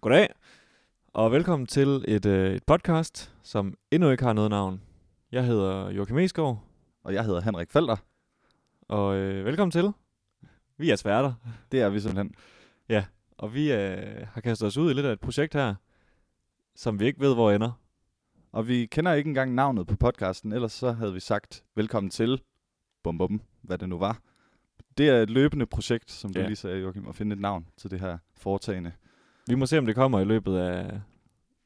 Goddag, og velkommen til et, øh, et podcast, som endnu ikke har noget navn. Jeg hedder Joachim Esgaard, Og jeg hedder Henrik Felter. og øh, velkommen til. Vi er sværter, Det er vi simpelthen. og vi øh, har kastet os ud i lidt af et projekt her, som vi ikke ved, hvor ender. Og vi kender ikke engang navnet på podcasten, ellers så havde vi sagt velkommen til, bum bum, hvad det nu var. Det er et løbende projekt, som du Ja. lige sagde, Joachim, at finde et navn til det her foretagende. Vi må se, om det kommer i løbet af,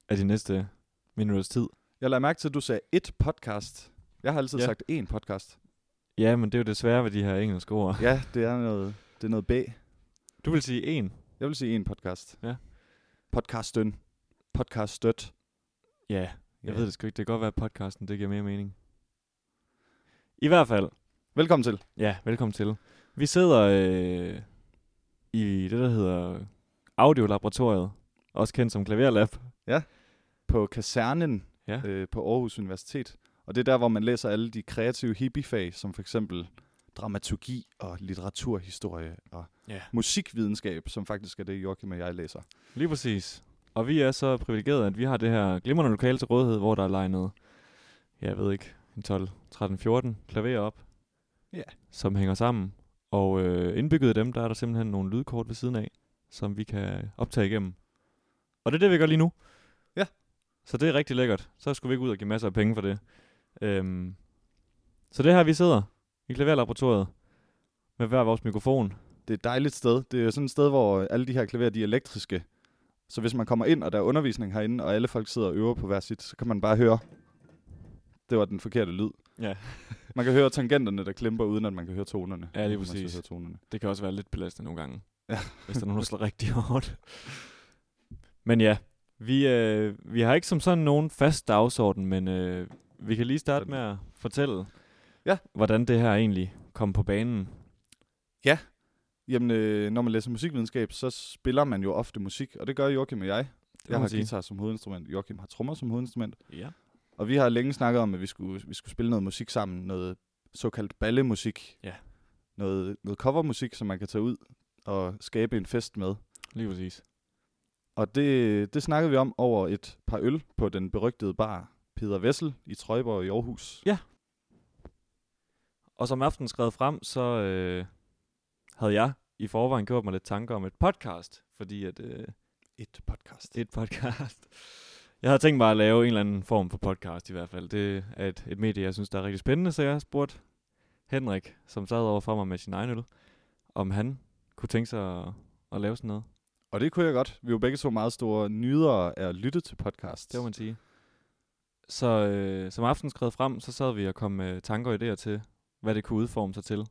af de næste minutters tid. Jeg lader mærke til, at du sagde et podcast. Jeg har altid Ja. ja. sagt én podcast. Ja, men det er jo det svære ved de her engelske ord. Ja, det er noget, det er noget B. Du vil sige en. Jeg vil sige én podcast. Ja. Podcasten. Podcaststøt. Ja, jeg ved det sgu ikke. Det kan godt være, at podcasten det giver mere mening. I hvert fald, Velkommen til. Ja, velkommen til. Vi sidder øh, i det, der hedder Audiolaboratoriet, også kendt som Klaverlab. på kasernen Ja. ja. øh, på Aarhus Universitet. Og det er der, hvor man læser alle de kreative hippiefag, som for eksempel dramaturgi og litteraturhistorie og Ja. musikvidenskab, som faktisk er det, Joachim og jeg læser. Lige præcis. Og vi er så privilegerede, at vi har det her glimrende lokale til rådighed, hvor der er legnet, jeg ved ikke, en 12, 13, 14 klaverer op, Ja. som hænger sammen. Og øh, indbygget i dem, der er der simpelthen nogle lydkort ved siden af, som vi kan optage igennem. Og det er det, vi gør lige nu. Ja. Så det er rigtig lækkert. Så skulle vi ikke ud og give masser af penge for det. Øhm, så det er her, vi sidder i klaverlaboratoriet med hver vores mikrofon. Det er et dejligt sted. Det er sådan et sted, hvor alle de her klaverer, de er elektriske. Så hvis man kommer ind, og der er undervisning herinde, og alle folk sidder og øver på hver sit, så kan man bare høre, det var den forkerte lyd. Ja. Man kan høre tangenterne, der klimper, uden at man kan høre tonerne. Ja, lige Uden at man skal præcis. høre tonerne. Det kan også være lidt belastende nogle gange. Ja. hvis der er nogen, der slår rigtig hårdt. Men ja, vi, øh, vi har ikke som sådan nogen fast dagsorden, men øh, vi kan lige starte Sådan. med at fortælle, Ja. hvordan det her egentlig kom på banen. Jamen, øh, når man læser musikvidenskab, så spiller man jo ofte musik, og det gør Joachim og jeg. Det må Jeg man har sige. guitar som hovedinstrument, Joachim har trommer som hovedinstrument. Ja. Og vi har længe snakket om, at vi skulle, vi skulle spille noget musik sammen, noget såkaldt ballemusik. Ja. Noget, noget covermusik, som man kan tage ud og skabe en fest med. Lige præcis. Og det, det snakkede vi om over et par øl på den berygtede bar Peder Vessel i Trøjborg i Aarhus. Og som aftenen skred frem, så øh, havde jeg i forvejen gjort mig lidt tanker om et podcast, fordi at... Øh, Et podcast. et podcast. Jeg havde tænkt mig at lave en eller anden form for podcast i hvert fald. Det er et, et medie, jeg synes, der er rigtig spændende, så jeg spurgte Henrik, som sad over for mig med sin egen øl, om han kunne tænke sig at, at lave sådan noget. Og det kunne jeg godt. Vi er jo begge to meget store nydere af at lytte til podcast. Det må man sige. Så øh, som aftenen skred frem, så sad vi og kom med tanker og idéer til, hvad det kunne udforme sig til.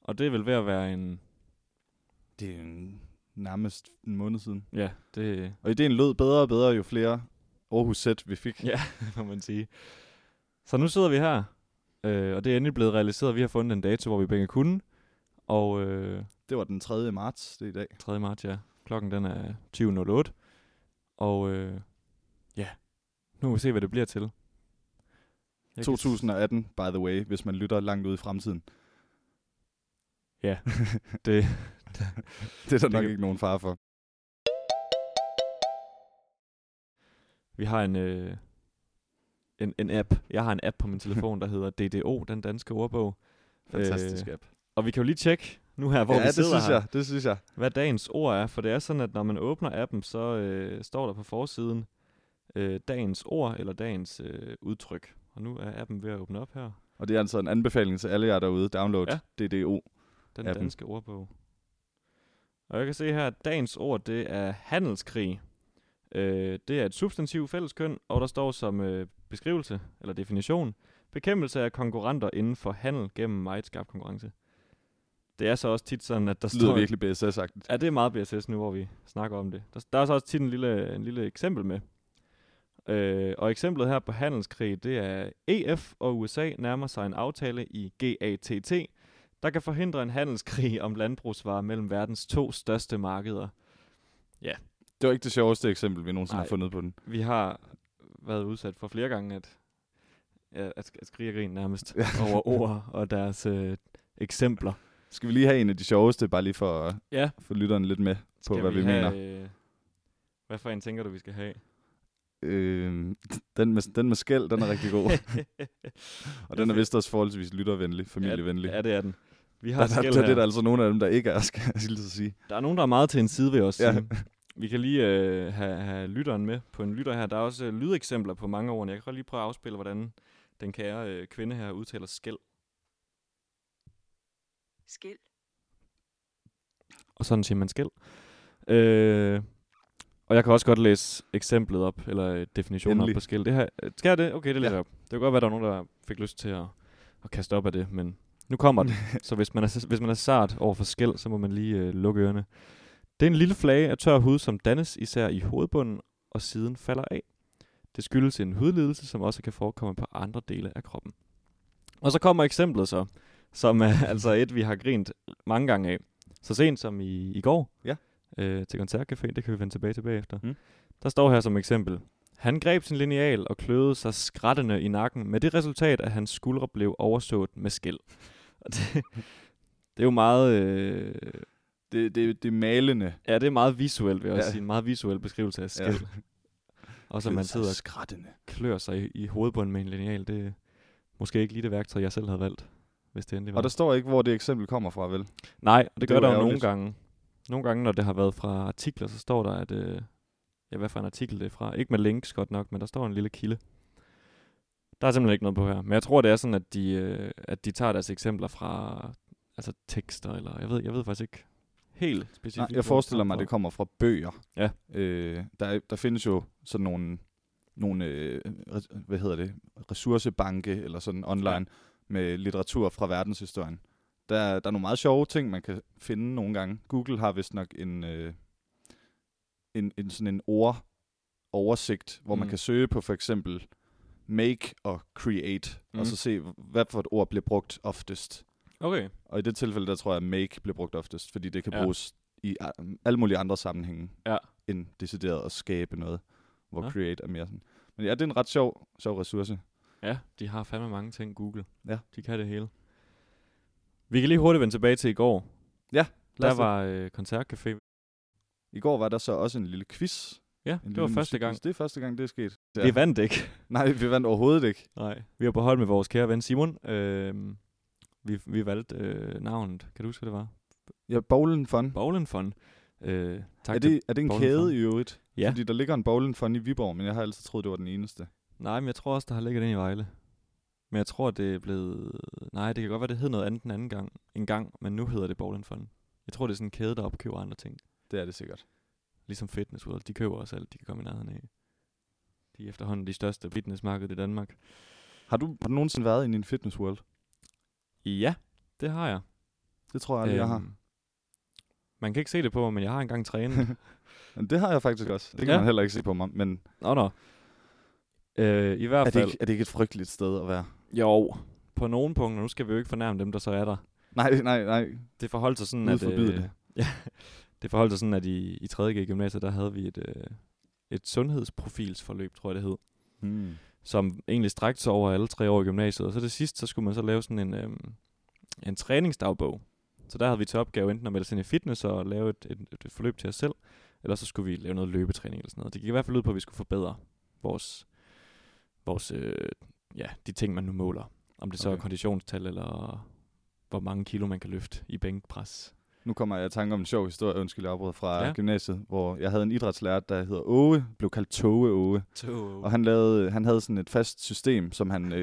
Og det er vel ved at være en... det er en, nærmest en måned siden. Ja, det Og ideen lød bedre og bedre, jo flere Aarhus sæt vi fik. Ja. må man sige. Så nu sidder vi her, øh, og det er endelig blevet realiseret. Vi har fundet en dato, hvor vi begge kunne. Og øh, Det var den 3. marts, det er i dag. 3. marts, ja. Klokken den er 20.08. Og øh, ja, nu må vi se, hvad det bliver til. Jeg kan s- 2018, by the way, hvis man lytter langt ud i fremtiden. Ja, det- det er der det nok kan- ikke nogen far for. Vi har en, øh, en, en app. Jeg har en app på min telefon, der hedder DDO, den danske ordbog. Fantastisk Øh, app. Og vi kan jo lige tjekke nu her, hvor ja, vi det sidder synes her, jeg, det synes jeg. hvad dagens ord er. For det er sådan, at når man åbner appen, så øh, står der på forsiden øh, dagens ord eller dagens øh, udtryk. Og nu er appen ved at åbne op her. Og det er altså en anbefaling til alle jer derude. Download Ja. ja. DDO. Den af dem. danske ordbog. Og jeg kan se her, at dagens ord, det er handelskrig. Øh, det er et substantiv fælleskøn, og der står som øh, beskrivelse, eller definition, bekæmpelse af konkurrenter inden for handel gennem meget skarp konkurrence. Det er så også tit sådan, at der Det lyder står... virkelig BSS-agtigt. Ja, det er meget BSS nu, hvor vi snakker om det. Der, der er så også tit en lille, en lille eksempel med. Øh, og eksemplet her på handelskrig, det er EF og USA nærmer sig en aftale i GATT, der kan forhindre en handelskrig om landbrugsvarer mellem verdens to største markeder. Det var ikke det sjoveste eksempel, vi nogensinde Nej. har fundet på den. Vi har været udsat for flere gange at, at, at, at skrige og grine nærmest over ord og deres øh, eksempler. Skal vi lige have en af de sjoveste, bare lige for at Ja, få lytteren lidt med på, Skal hvad vi, vi mener. have, øh, Hvad for en tænker du, vi skal have? Øh, den, med, den med skæld, den er rigtig god. og den er vist også forholdsvis lyttervenlig, familievenlig. Ja, det er den. Vi Der, har der, skæld der, det er der her. altså nogle af dem, der ikke er, skal jeg lige så sige. Der er nogen, der er meget til en side ved os. Ja. Ja. Vi kan lige øh, have, have lytteren med på en lytter her. Der er også øh, lydeksempler på mange ord. Jeg kan godt lige prøve at afspille, hvordan den kære øh, kvinde her udtaler skæld. Skil. Og sådan siger man skæld. Øh, og jeg kan også godt læse eksemplet op, eller øh, definitionen Endelig. Endelig. op på skæld. Det her, øh, skal jeg det? Okay, det læser Ja. jeg op. Det kan godt være, der er nogen, der fik lyst til at, at kaste op af det, men nu kommer den. så hvis man, er, hvis man er sart over for skæld, så må man lige øh, lukke ørerne. Det er en lille flage af tør hud, som dannes især i hovedbunden, og siden falder af. Det skyldes en hudlidelse, som også kan forekomme på andre dele af kroppen. Og så kommer eksemplet så, som er altså et, vi har grint mange gange af. Så sent som i, i går Ja. øh, til koncertcaféen, det kan vi vende tilbage til bagefter. Mm. Mm. Der står her som eksempel. Han greb sin lineal og kløede sig skrattende i nakken, med det resultat, at hans skuldre blev oversået med skæld. Og det, det er jo meget, øh, Det, det, det er malende. ja, det er meget visuelt, vil jeg også Ja. sige. En meget visuel beskrivelse af Ja. skæld. Ja. Og så man sidder og skrattende. klør sig i, i hovedbunden med en lineal, det er måske ikke lige det værktøj, jeg selv havde valgt, hvis det endelig var. Og der står ikke, hvor det eksempel kommer fra, vel? Nej, og det, Det det gør er jo der jo nogle ærgerligt. gange. Nogle gange, når det har været fra artikler, så står der, at... Øh, ja, hvad for en artikel det er fra. Ikke med links godt nok, men der står en lille kilde. Der er simpelthen ikke noget på her. Men jeg tror, det er sådan, at de, øh, at de tager deres eksempler fra altså tekster, eller jeg ved, jeg ved faktisk ikke helt specifikt. Nej, hvor jeg det forestiller kommer mig, at det fra. kommer fra bøger. Ja. Øh, der, er- der findes jo sådan nogle, nogle øh, res- hvad hedder det, ressourcebanke eller sådan online ja. Ja. med litteratur fra verdenshistorien. Der, er- der er nogle meget sjove ting, man kan finde nogle gange. Google har vist nok en, øh, en, en sådan en ord oversigt, hvor mm. man Mm. kan søge på for eksempel make og create, mm. Mhm. og så se, hvad for et ord bliver brugt oftest. Okay. Og i det tilfælde, der tror jeg, at make bliver brugt oftest, fordi det kan ja. Ja. bruges i a- alle mulige andre sammenhænge, Ja. end decideret at skabe noget, hvor ja. Nå. create er mere sådan. Men ja, det er en ret sjov, sjov ressource. Ja, de har fandme mange ting, Google. Ja. De kan det hele. Vi kan lige hurtigt vende tilbage til i går. Ja, lad Der os det. var øh, koncertcafé. I går var der så også en lille quiz. En Ja, det lille var første musikquiz. gang. Det er første gang, det er sket. Ja. Vi vandt ikke. Nej, vi vandt overhovedet ikke. Nej, vi var på hold med vores kære ven Simon. Øh, vi, vi valgte øh, navnet. Kan du huske, hvad det var? Ja, Bowlen Fun. Bowlen Fund. Øh, tak er, til... det, er det en Bowlen kæde Fund. i øvrigt? Ja. Fordi der ligger en Bowlen Fun i Viborg, men jeg har altid troet, det var den eneste. Nej, men jeg tror også, der har ligget den i Vejle. Men jeg tror, det er blevet... Nej, det kan godt være, det hed noget andet den anden gang. En gang, men nu hedder det Bowlen Fund. Jeg tror, det er sådan en kæde, der opkøber andre ting. Det er det sikkert. Ligesom Fitness World. De køber også alt, de kan komme i nærheden af. De er efterhånden de største fitnessmarked i Danmark. Har du, har du nogensinde været inde i en fitness world? Ja, det har jeg. Det tror jeg aldrig, jeg har. Øhm, Man kan ikke se det på mig, men jeg har engang trænet. Men det har jeg faktisk også. Det kan ja. Ja. man heller ikke se på mig, men Nå, nå. Øh, I hvert er det, fald... ikke, er det ikke et frygteligt sted at være? Jo, på nogle punkter. Nu skal vi jo ikke fornærme dem, der så er der. Nej, nej, nej. Det forholdt sig sådan, Gud at... forbyde det. ja, det forholdt sig sådan, at i, i 3. G i gymnasiet, der havde vi et, øh, et sundhedsprofilsforløb, tror jeg det hed, Hmm. som egentlig strakte sig over alle tre år i gymnasiet. Og så det sidste, så skulle man så lave sådan en, øh, en træningsdagbog. Så der havde vi til opgave enten at melde os ind i fitness og lave et, et, et forløb til os selv, eller så skulle vi lave noget løbetræning eller sådan noget. Det gik i hvert fald ud på, at vi skulle forbedre vores, vores øh, ja, de ting, man nu måler. Om det så er Okay. konditionstal, eller hvor mange kilo man kan løfte i bænkpres. Nu kommer jeg i tanke om en sjov historie, undskyld jeg afbryder, fra ja. Ja. gymnasiet, hvor jeg havde en idrætslærer, der hedder Åge, blev kaldt Tåge Åge. Og Tog. han, lavede, han havde sådan et fast system, som han, øh,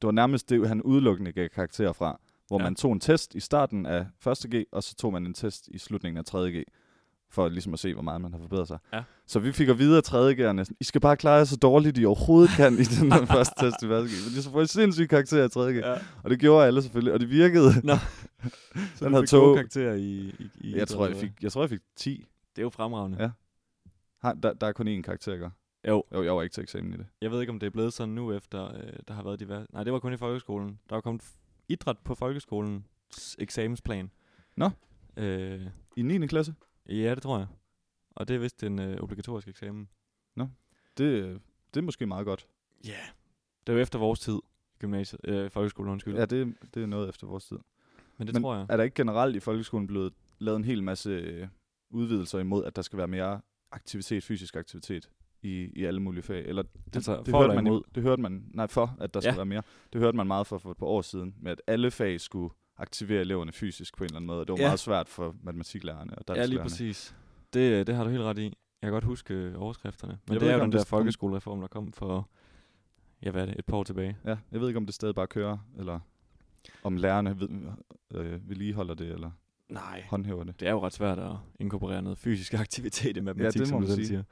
det var nærmest det, han udelukkende gav karakterer fra. Hvor ja. Ja. man tog en test i starten af 1.G, og så tog man en test i slutningen af 3.G, for ligesom at se, hvor meget man har forbedret sig. Ja. Så vi fik at vide af 3.G'erne, I skal bare klare jer så dårligt, I overhovedet kan i den her første test i 1.G. Fordi så får I sindssyge karakterer i 3.G. Ja. Ja. Og det gjorde alle selvfølgelig, og det virkede. Så Han du fik havde gode tog. karakterer i, i, i Jeg tror, jeg idræt, eller fik, jeg tror, jeg fik 10. hvad? Det er jo fremragende. Ja. Har, der, der er kun én karakter, ikke? Jo, Jo, jeg var ikke til eksamen i det. jeg ved ikke, om det er blevet sådan nu, efter øh, der har været diverse... Nej, det var kun i folkeskolen. Der var kommet f- idræt på folkeskolens eksamensplan. Nå. Øh, I 9. klasse? ja, det tror jeg. Og det er vist en øh, obligatorisk eksamen. Det, øh, det er måske meget godt. Ja. Yeah. Det var efter vores tid. Gymnasiet, øh, folkeskolen, undskyld. Ja, det, det er noget efter vores tid. Men det men tror jeg. Er der ikke generelt i folkeskolen blevet lavet en hel masse øh, udvidelser imod, at der skal være mere aktivitet, fysisk aktivitet i, i alle mulige fag. Eller det, Altså, det, for hørte eller man, imod? i- det hørte man, nej for, at der skulle Ja. være mere. Det hørte man meget for, for et par år siden, med at alle fag skulle aktivere eleverne fysisk på en eller anden måde. Og det var Ja. meget svært for matematiklærerne og Ja, lige dansklærerne. præcis. Det, det har du helt ret i. Jeg kan godt huske øh, overskrifterne. Men Jeg jeg ved det er ikke, jo om den det der st- om- folkeskolereform, der kom for, ja hvad er det, et par år tilbage. Ja, jeg ved ikke, om det stadig bare kører, eller om lærerne ved, øh, vedligeholder det, eller Nej. håndhæver det. Det er jo ret svært at inkorporere noget fysisk aktivitet i matematik, det må som du man selv sige. siger.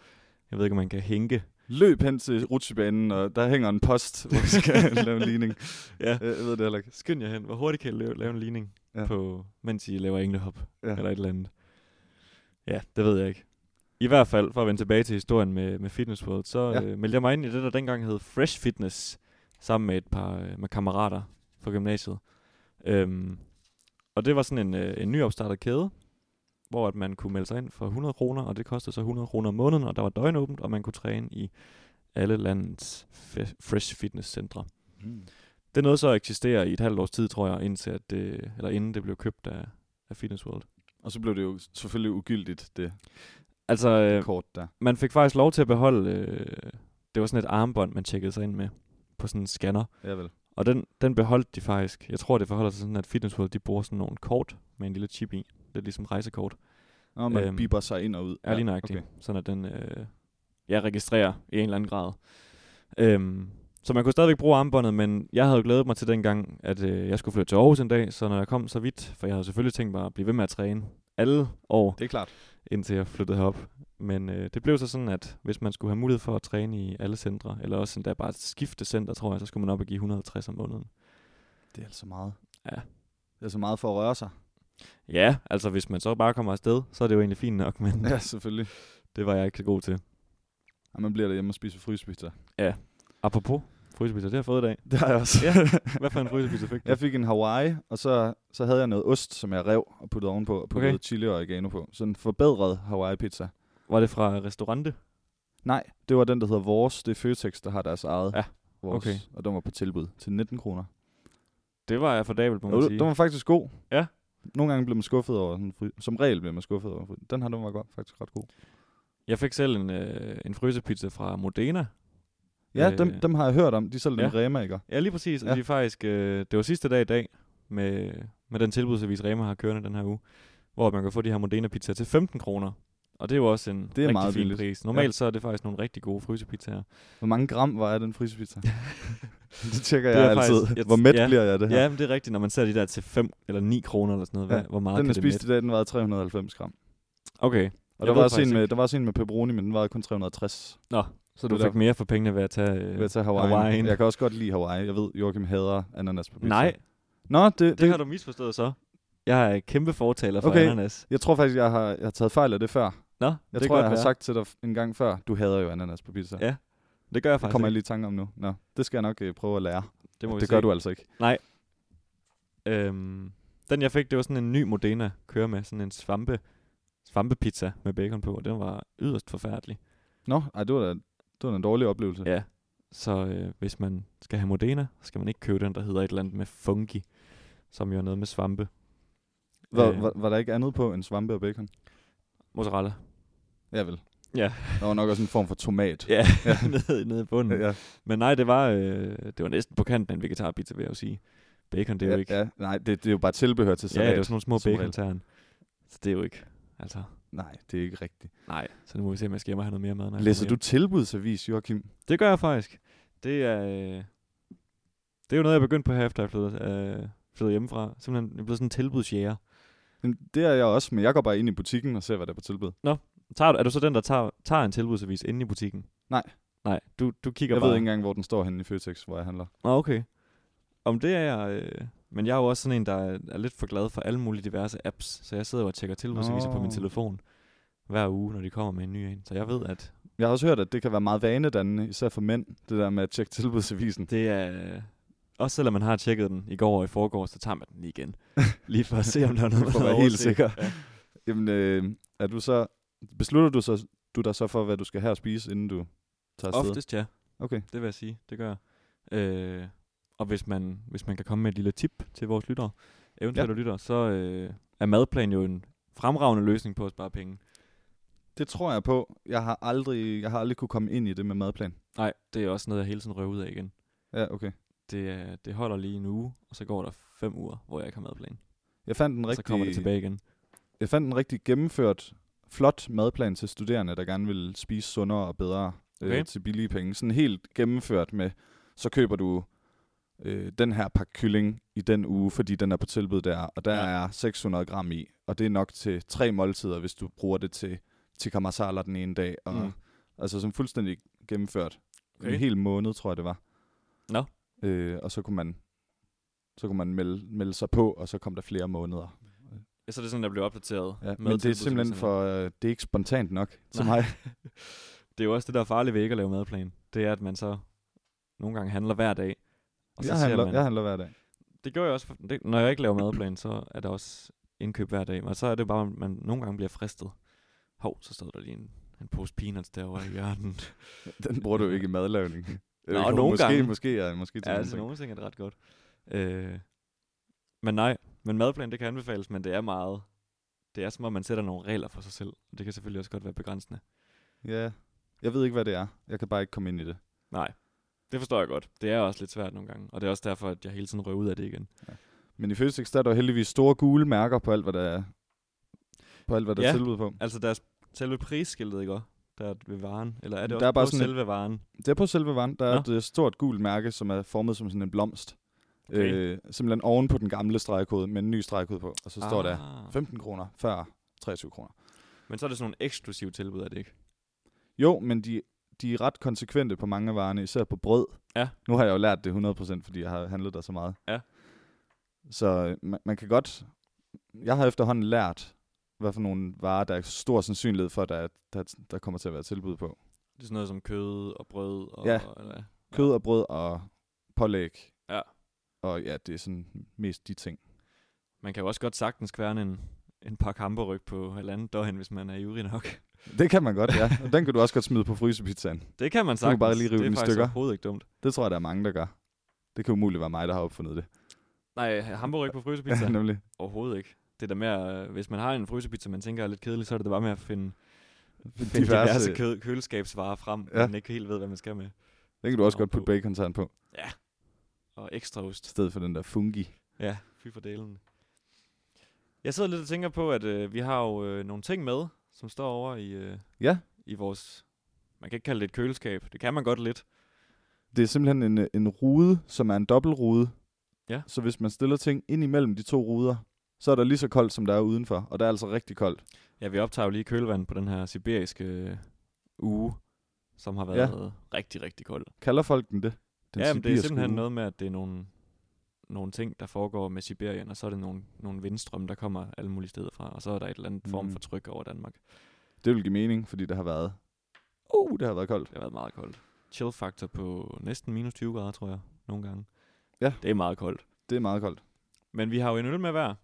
Jeg ved ikke, om man kan hænke. Løb hen til rutsjebanen, og der hænger en post, hvor vi skal lave en ligning. Ja. Jeg ved det heller ikke. Skynd jer hen. Hvor hurtigt kan I lave, lave en ligning, Ja. ja. på, mens I laver englehop? Ja. eller et eller andet. Ja, det ved jeg ikke. I hvert fald, for at vende tilbage til historien med, med Fitness World, så Ja. ja. øh, meldte jeg mig ind i det, der dengang hed Fresh Fitness, sammen med et par øh, med kammerater fra gymnasiet. Øhm, og det var sådan en, øh, en nyopstartet kæde, hvor at man kunne melde sig ind for 100 kroner, og det kostede så 100 kroner om måneden, og der var døgnåbent, og man kunne træne i alle landets fe- Fresh Fitness centre. Mm. Det nåede så at eksistere i et halvt års tid, tror jeg, indtil at det, eller inden det blev købt af, af Fitness World. Og så blev det jo selvfølgelig ugyldigt, det Altså, øh, kort der. man fik faktisk lov til at beholde, øh, det var sådan et armbånd, man tjekkede sig ind med på sådan en scanner. Ja vel. Og den, den beholdt de faktisk. Jeg tror, det forholder sig sådan, at Fitness World, de bruger sådan nogle kort med en lille chip i. Det er ligesom rejsekort. Nå, man øhm, Øhm, biber sig ind og ud. Er ja, lige nøjagtigt. Okay. Sådan at den, øh, jeg registrerer i en eller anden grad. Øhm, så man kunne stadigvæk bruge armbåndet, men jeg havde jo glædet mig til dengang, at øh, jeg skulle flytte til Aarhus en dag. Så når jeg kom så vidt, for jeg havde selvfølgelig tænkt mig at blive ved med at træne alle år, Det er klart. indtil jeg flyttede herop. Men øh, det blev så sådan, at hvis man skulle have mulighed for at træne i alle centre, eller også endda bare skifte center, tror jeg, så skulle man op og give 150 om måneden. Det er altså meget. Ja. Det er så meget for at røre sig. Ja, altså hvis man så bare kommer afsted, så er det jo egentlig fint nok, men ja, selvfølgelig. det var jeg ikke så god til. Og man bliver derhjemme og spiser fryspizza. Apropos frysepizza, det har jeg fået i dag. Det har jeg også. Hvad for en frysepizza fik du? Jeg fik en Hawaii, og så, så havde jeg noget ost, som jeg rev og puttede ovenpå, og puttede okay. Okay. chili og oregano på. Sådan en forbedret Hawaii-pizza. Var det fra restaurante? Nej, det var den, der hedder Vores. Det er Føtex, der har deres eget. Ja, Vores, okay. Og den var på tilbud til 19 kroner. Det var jeg fordabel på, må Jo, man den sige. var faktisk god. Ja. Nogle gange blev man skuffet over sådan en fry. Som regel blev man skuffet over en fry. Den her, den var godt, faktisk ret god. Jeg fik selv en, øh, en frysepizza fra Modena. Ja, Øh, dem, dem har jeg hørt om. De sælger ja. ja. dem i Rema, ikke? Ja, lige præcis. Og Ja. ja. de er faktisk, øh, det var sidste dag i dag, med, med den tilbudsavis Rema har kørende den her uge, hvor man kan få de her Modena pizzaer til 15 kroner. Og det er jo også en er rigtig meget fin billigt. pris. Normalt ja. så er det faktisk nogle rigtig gode frysepizzaer. Hvor mange gram var jeg den frysepizza? det tjekker Det jeg er altid. faktisk- jeg- Hvor mæt ja. bliver jeg af det her? Ja, men det er rigtigt, når man ser de der til 5 eller 9 kroner eller sådan noget. Ja, Ja. Hvad, hvor meget den kan jeg det spiste mætte? i dag, den var 390 gram. Okay, Og Jeg der ved var, også en faktisk med, ikke. der var også en med pepperoni, men den var kun 360. så Det du er fik derfor. mere for pengene ved at tage... Øh, Øh, ved at tage Hawaii. Hawaiian. Jeg kan også godt lide Hawaii. Jeg ved, Joachim hader ananas på pizza. Nej, det, Nå, det, det, det har du misforstået så. Jeg er kæmpe fortaler for Okay. okay. ananas. jeg tror faktisk, jeg har, jeg har taget fejl af det før. Nå, Jeg det kan tror, jeg godt har være. sagt til dig f- en gang før, du hader jo ananas på pizza. Ja, Det gør jeg det faktisk kommer jeg ikke. lige i tanke om nu. Nå, det skal jeg nok øh, prøve at lære. Det, må vi det se. gør du altså ikke. Øhm, den jeg fik, det var sådan en ny Modena køre med, sådan en svampe, svampepizza med bacon på, og den var yderst forfærdelig. Nå, ej, det var da, det var da en dårlig oplevelse. Ja. Så øh, hvis man skal have Modena, så skal man ikke købe den, der hedder et eller andet med fungi, som jo er noget med svampe. Var, Øh. var, var der ikke andet på end svampe og bacon? Mozzarella. Ja vel. Ja. Der var nok også en form for tomat. Ja, mm. nede, nede i bunden. Ja. ja. Men nej, det var, øh, det var næsten på kanten af en vegetarpizza, vil jeg jo sige. Bacon, det er ja, jo ikke... Ja, Ja, nej, det, det er jo bare tilbehør til ja salat. det er jo sådan nogle som små regel. bacontern. Så det er jo ikke... Altså, Nej, det er ikke rigtigt. nej. Så nu må vi se, om jeg skal hjem og have noget mere mad. når jeg kommer Læser hjem. du tilbudsavis, Joachim? Det gør jeg faktisk. Det er, øh, det er jo noget, jeg begyndte på her, efter jeg flyttede, øh, flyttede hjemmefra. Simpelthen, jeg er blevet sådan en tilbudsjæger. Jamen, det er jeg også, men jeg går bare ind i butikken og ser, hvad der er på tilbud. Tager, du- er du så den, der tager, tager en tilbudsavis inde i butikken? Nej. Nej, du, du kigger Jeg bare. ved ikke engang, hvor den står henne i Føtex, hvor jeg handler. Nå, okay. Om det er jeg... Øh, men jeg er jo også sådan en, der er, er lidt for glad for alle mulige diverse apps. Så jeg sidder jo og tjekker tilbudsaviser på min Nå. telefon hver uge, når de kommer med en ny en. Så jeg ved, at Jeg har også hørt, at det kan være meget vanedannende, især for mænd, det der med at tjekke tilbudsavisen. det er... Også selvom man har tjekket den i går og i forgårs, så tager man den lige igen. Lige for at se, om der er noget, For at man har være helt overset. sikker. Ja. Jamen, øh, er du så, beslutter du, så, du dig så for, hvad du skal have at spise, inden du tager afsted? Oftest ja. Okay. Det vil jeg sige, det gør jeg. Øh, og hvis man, hvis man kan komme med et lille tip til vores lyttere, eventuelle ja. lyttere, så øh, er madplan jo en fremragende løsning på at spare penge. Det tror jeg på. Jeg har aldrig, jeg har aldrig kunne komme ind i det med madplan. Nej, det er også noget, jeg hele tiden røver ud af igen. Ja, okay. Det, er- det holder lige en uge, og så går der fem uger, hvor jeg ikke har madplan. Jeg fandt en Rigtig... Så kommer det rigtig, tilbage igen. jeg fandt en rigtig gennemført, flot madplan til studerende, der gerne vil spise sundere og bedre okay. Okay. øh, til billige penge. Sådan helt gennemført med, så køber du øh, den her pakke kylling i den uge, fordi den er på tilbud der, og der Ja. ja. er 600 gram i, og det er nok til tre måltider, hvis du bruger det til tikka masala den ene dag. Og, Mm. mm. Altså sådan fuldstændig gennemført. Okay. Okay. En hel måned, tror jeg, det var. Nå. Øh, og så kunne man så kunne man melde, melde sig på, og så kom der flere måneder. Ja, så er det sådan, der bliver opdateret. Ja, med men det er tilbudsmesserne. simpelthen for, øh, det er ikke spontant nok til Nej. mig. Det er jo også det, der er farligt ved ikke at lave madplan. Det er, at man så nogle gange handler hver dag. Og så Jeg ser handler, man, jeg handler hver dag. Det gør jeg også. For, det, når jeg ikke laver madplan, så er der også indkøb hver dag. Men så er det bare, at man nogle gange bliver fristet. Hov, så stod der lige en, en pose peanuts derovre i hjørnet. Den bruger du jo ikke i madlavning. Nå, nogle måske, gange. Måske, ja, måske til ja, altså nogle nogle ting er det ret godt. Øh, men nej, men madplan, det kan anbefales, men det er meget. Det er som om, man sætter nogle regler for sig selv. Og det kan selvfølgelig også godt være begrænsende. ting. Ja, jeg ved ikke, hvad det er. Jeg kan bare ikke komme ind i det. Nej, det forstår jeg godt. Det er også lidt svært nogle gange. Og det er også derfor, at jeg hele tiden røver ud af det igen. Men i Føtex, der er der jo heldigvis store gule mærker på alt, hvad der er, på alt, hvad der Ja. er tilbud på. Altså deres selve prisskiltet, ikke også? Der er ved varen. Eller er det Der også er bare på sådan et- selve varen? Det er på selve varen. Der er Nå. et øh, stort gult mærke, som er formet som sådan en blomst. Okay. Øh, simpelthen oven på den gamle stregkode med en ny stregkode på. Og så står der Ah. 15 kroner før 23 kroner. Men så er det sådan nogle eksklusive tilbud, er det ikke? Jo, men de, de er ret konsekvente på mange af varerne, især på brød. Ja. Nu har jeg jo lært det 100%, fordi jeg har handlet der så meget. Ja. Så øh, man, man kan godt... Jeg har efterhånden lært, hvad for nogle varer, der er stor sandsynlighed for, der, er- der, der kommer til at være tilbud på. Det er sådan noget som kød og brød og... Ja. Eller, Kød og brød og pålæg. Ja. Og ja, det er sådan mest de ting. Man kan jo også godt sagtens kværne en, en par kamperryg på halvanden døgn, hvis man er ivrig nok. Det kan man godt, ja. Og den kan du også godt smide på frysepizzaen. Det kan man Du kan sagtens. bare lige rive det er den i faktisk stykker. overhovedet ikke dumt. Det tror jeg, der er mange, der gør. Det kan umuligt være mig, der har opfundet det. Nej, hamburg på Ja, frysepizza? nemlig. overhovedet ikke. Det der med, at, øh, hvis man har en frysepizza, man tænker er lidt kedelig, så er det da bare med at finde, finde diverse, diverse kø- køleskabsvarer frem, ja. Ja. man ikke helt ved, hvad man skal med. Det kan du også Nå, godt putte på. bacon på. Og ekstra ost. i stedet for den der fungi. Ja, fy for delen. Jeg sidder lidt og tænker på, at øh, vi har jo øh, nogle ting med, som står over i, øh, Ja. i vores... Man kan ikke kalde det et køleskab. Det kan man godt lidt. Det er simpelthen en, øh, en rude, som er en dobbeltrude. Ja. Så hvis man stiller ting ind imellem de to ruder, så er der lige så koldt, som der er udenfor. Og der er altså rigtig koldt. Ja, vi optager jo lige kølvand på den her sibiriske øh, uge, som har været ja. rigtig, rigtig kold. Kalder folk den det? Den ja, men det er sibiriske simpelthen uge. noget med, at det er nogle, nogle ting, der foregår med Sibirien, og så er det nogle, nogle vindstrømme, der kommer alle mulige steder fra, og så er der et eller andet form Mm. for tryk over Danmark. Det vil give mening, fordi det har været... Uh, det har været koldt. Det har været meget koldt. Chill-faktor på næsten minus 20 grader, tror jeg, nogle gange. Ja. Det er meget koldt. Det er meget koldt. Men vi har jo en øl med hver.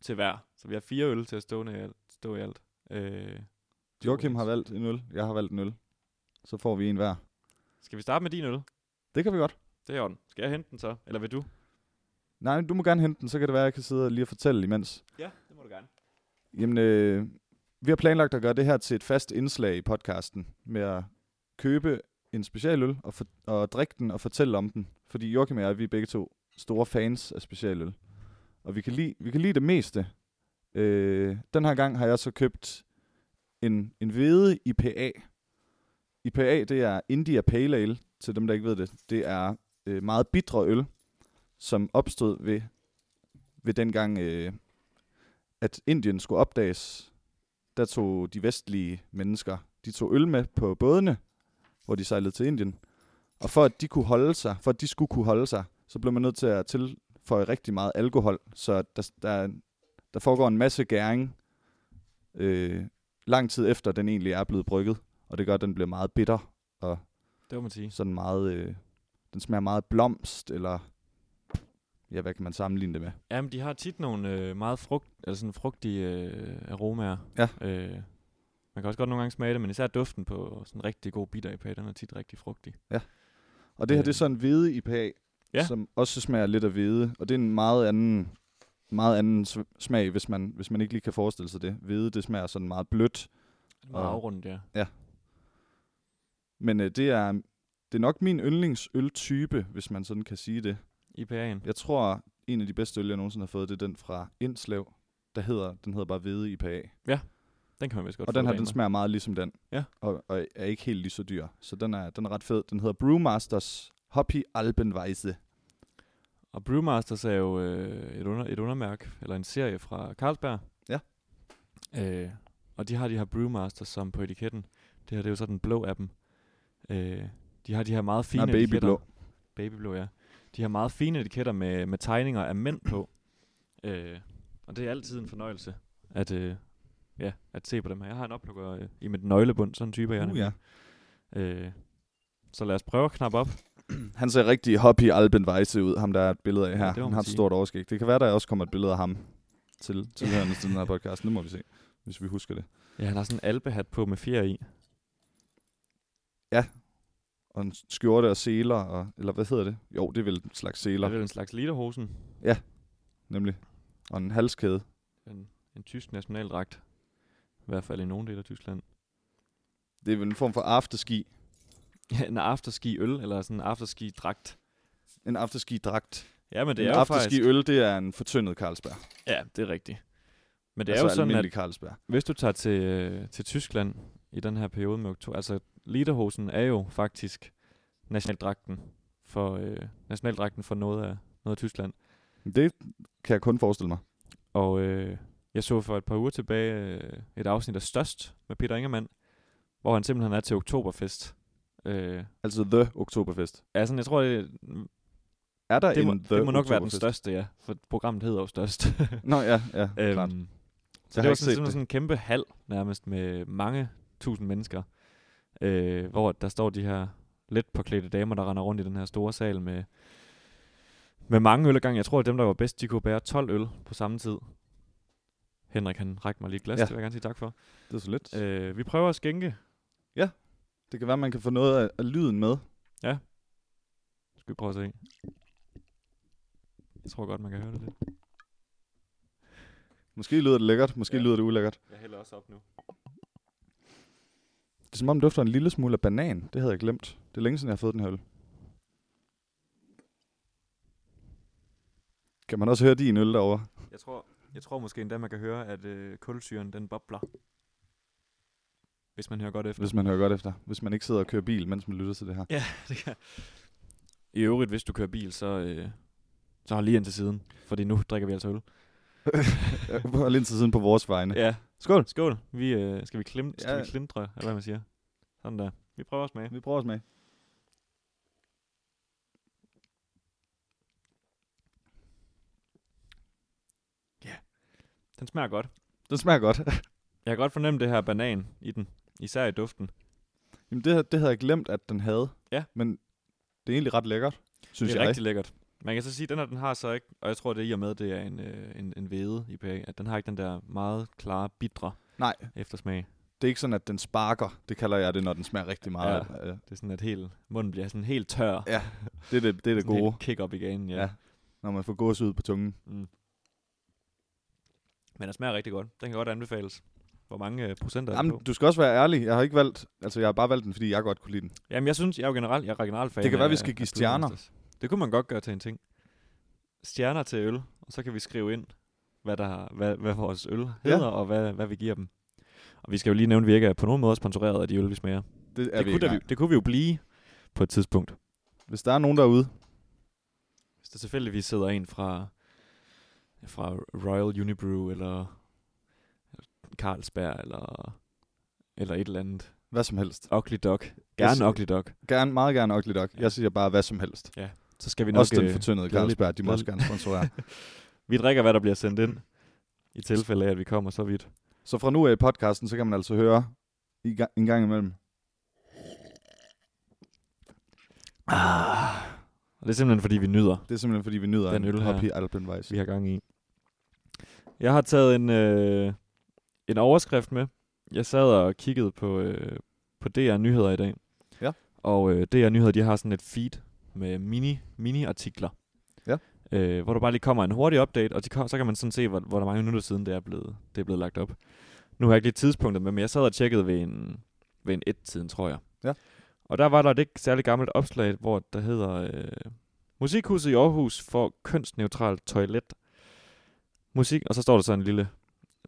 Til hver. Så vi har fire øl til at stå, i alt- stå i alt. Øh, Joachim har valgt en øl. Jeg har valgt en øl. Så får vi en hver. Skal vi starte med din øl? Det kan vi godt. Det er orden. Skal jeg hente den så? Eller vil du? Nej, du må gerne hente den, så kan det være, at jeg kan sidde og lige og fortælle imens. Ja, det må du gerne. Jamen, øh, vi har planlagt at gøre det her til et fast indslag i podcasten med at købe en specialøl og, for, og drikke den og fortælle om den. Fordi Joachim og jeg, vi er begge to store fans af specialøl. Og vi kan lide, vi kan lide det meste. Øh, den her gang har jeg så købt en, en hvede IPA. IPA, det er India Pale Ale, til dem, der ikke ved det. Det er øh, meget bitre øl, som opstod ved, ved dengang... Øh, at Indien skulle opdages, der tog de vestlige mennesker, de tog øl med på bådene, hvor de sejlede til Indien. Og for at de kunne holde sig, for at de skulle kunne holde sig, så blev man nødt til at tilføje rigtig meget alkohol, så der, der, der foregår en masse gæring øh, lang tid efter, den egentlig er blevet brygget, og det gør, at den bliver meget bitter, og Det må man sige. sådan meget, øh, den smager meget af blomst, eller ja, hvad kan man sammenligne det med? Jamen, de har tit nogle øh, meget frugt, eller sådan frugtige øh, aromaer. Ja. Øh, man kan også godt nogle gange smage det, men især duften på sådan en rigtig god bitter IPA, den er tit rigtig frugtig. Og det her, det er Øh. så en hvide IPA, Ja. ja. som også smager lidt af hvide. Og det er en meget anden, meget anden sv- smag, hvis man, hvis man ikke lige kan forestille sig det. Hvide, det smager sådan meget blødt Det er meget Og- afrundet, ja. Men øh, det, er, det er nok min yndlingsøltype, hvis man sådan kan sige det. IPA'en. Jeg tror, en af de bedste øl, jeg nogensinde har fået, det er den fra Indslev. Der hedder, den hedder bare Hvede IPA. Den kan man vist godt Og den her, her, den smager meget ligesom den. Ja. Og, og er ikke helt lige så dyr. Så den er, den er ret fed. Den hedder Brewmasters Hoppy Alpenweise. Og Brewmasters er jo øh, et, under, et undermærke, eller en serie fra Carlsberg. Ja. Øh, og de har de her Brewmasters som på etiketten. Det her det er jo så den blå af dem. Øh, de har de her meget fine Nej, babyblå. etiketter. Babyblå, ja. De har meget fine etiketter med, med tegninger af mænd på. øh, og det er altid en fornøjelse at, øh, ja, at se på dem her. Jeg har en oplukker øh, i mit nøglebund, sådan en type er jeg Uh, ja. nemlig. Øh, så lad os prøve at knappe op. Han ser rigtig Hoppy Alpenweise ud, ham der er et billede af her. det må Ja, han man har et sige. stort overskæg. Det kan være, der også kommer et billede af ham til, til, til den her podcast. Nu må vi se, hvis vi husker det. Ja, han har sådan en alpehat på med fjer i. og en skjorte og seler, og, eller hvad hedder det? Jo, det er vel en slags Det seler, er vel en slags lederhosen. nemlig. Og en halskæde. en, en tysk nationaldragt. I hvert fald i nogle dele af Tyskland. Det er vel en form for afterski. Ja, en afterski-øl, eller sådan en afterski-dragt. En afterski-dragt. Ja, men det En er jo faktisk... afterski-øl, det er en fortyndet Carlsberg. Ja, det er rigtigt. Men det altså altså er jo sådan, almindelig at Carlsberg. hvis du tager til, øh, til Tyskland i den her periode med oktober, altså lederhosen er jo faktisk nationaldragten for, øh, nationaldragten for noget af, noget af Tyskland. Det kan jeg kun forestille mig. Og øh, jeg så for et par uger tilbage øh, et afsnit af Størst med Peter Ingemann, hvor han simpelthen er til oktoberfest. Øh, Altså The Oktoberfest. ja, sådan, jeg tror, det, Er der det, må, en The det må nok være den Oktoberfest? største, ja. For programmet hedder jo størst. Nå ja, ja, øhm, klart. øhm, så Jeg det har var sådan, ikke set sådan, det. sådan en kæmpe hal nærmest med mange tusind mennesker. Øh, hvor der står de her let påklædte damer, der render rundt i den her store sal med, med mange øl ad gangen. Jeg tror, at dem, der var bedst, de kunne bære 12 øl på samme tid. Henrik, han rækker mig lige et glas, Ja. ja. det vil jeg gerne sige tak for. Det er så lidt. Øh. Øh, vi prøver at skænke. Det kan være, man kan få noget af, af lyden med. Skal vi prøve at se? Jeg tror godt, man kan høre det lidt. Måske lyder det lækkert, måske Ja. lyder det ulækkert. Jeg hælder også op nu. Det er som om, det dufter en lille smule af banan. Det havde jeg glemt. Det er længe siden, jeg har fået den her øl. Kan man også høre din øl derovre? Jeg tror, jeg tror måske endda, man kan høre, at øh, kulsyren den bobler. Hvis man hører godt efter. Hvis man hører godt efter. Hvis man ikke sidder og kører bil, mens man lytter til det her. Ja, det kan. I øvrigt, hvis du kører bil, så, øh, så har lige ind til siden. Fordi nu drikker vi altså øl. Ja. Lidt til siden på vores vegne. Ja. Ja, Skål! skål. Vi, øh, skal, vi klim, skal Ja. vi klimtre, eller hvad man siger? Sådan der. Vi prøver at smage. Vi prøver at smage. Den smager godt. Den smager godt. Jeg kan godt fornemme det her banan i den. Især i duften. Jamen, det, her- det havde jeg glemt, at den havde. Ja. Men det er egentlig ret lækkert, synes det er jeg. rigtig lækkert. Man kan så sige, at den her, den har så ikke, og jeg tror, det er i og med, det er en, øh, en, en vede i pæ, at den har ikke den der meget klare, bitre Nej. eftersmag. Det er ikke sådan, at den sparker. Det kalder jeg det, når den smager rigtig meget. Ja. Det er sådan, at hele, munden bliver sådan helt tør. Ja, Det er det, det, er det gode, kick op igen, ja. Ja. ja. når man får gås ud på tungen. Mm. Men den smager rigtig godt. Den kan godt anbefales. Hvor mange øh, procent er Jamen, Jamen, på? du skal også være ærlig. Jeg har ikke valgt... Altså, jeg har bare valgt den, fordi jeg godt kunne lide den. Jamen, jeg synes, jeg er jo generelt, jeg er regional fan Det kan være, af- vi skal af give stjerner. Brewmasters. Det kunne man godt gøre til en ting. Stjerner til øl, og så kan vi skrive ind, hvad, der, hvad, hvad vores øl hedder, og hvad, hvad vi giver dem. Og vi skal jo lige nævne, at vi ikke er på nogen måde sponsoreret af de øl, vi smager. Det er det, vi kunne, ikke. da nej. vi, det kunne vi jo blive på et tidspunkt. Hvis der er nogen derude, Hvis der tilfældigvis sidder en fra, fra Royal Unibrew, eller Carlsberg, eller, eller et eller andet, hvad som helst. Ugly Dog. Gerne siger- Ugly Dog. Gerne, meget gerne Ugly Dog. Jeg siger bare, hvad som helst. Så skal vi Vi nok... også den øh, fortyndede glædeligt- Carlsberg, de må også glædeligt. gerne sponsorere. vi drikker, hvad der bliver sendt ind. I tilfælde af, at vi kommer så vidt. så fra nu af i podcasten, så kan man altså høre i ga- en gang imellem. Og det er simpelthen, fordi vi nyder, Det er simpelthen, fordi vi nyder Den en øl her. Hoppy Alpenweiss. vi har gang i. Jeg har taget en, øh, en overskrift med. Jeg sad og kiggede på, øh, på DR Nyheder i dag. Ja. Og øh, DR Nyheder, de har sådan et feed med mini, mini-artikler. Ja. Øh, hvor der bare lige kommer en hurtig update, og de, kom- så kan man sådan se, hvor, hvor der mange minutter siden det er blevet, det er blevet lagt op. Nu har jeg ikke lige tidspunktet med, men jeg sad og tjekkede ved en, ved en et-tiden, tror jeg. Ja. Og der var der et ikke særlig gammelt opslag, hvor der hedder... Øh, Musikhuset i Aarhus får kønsneutralt toilet. Musik, og så står der så en lille,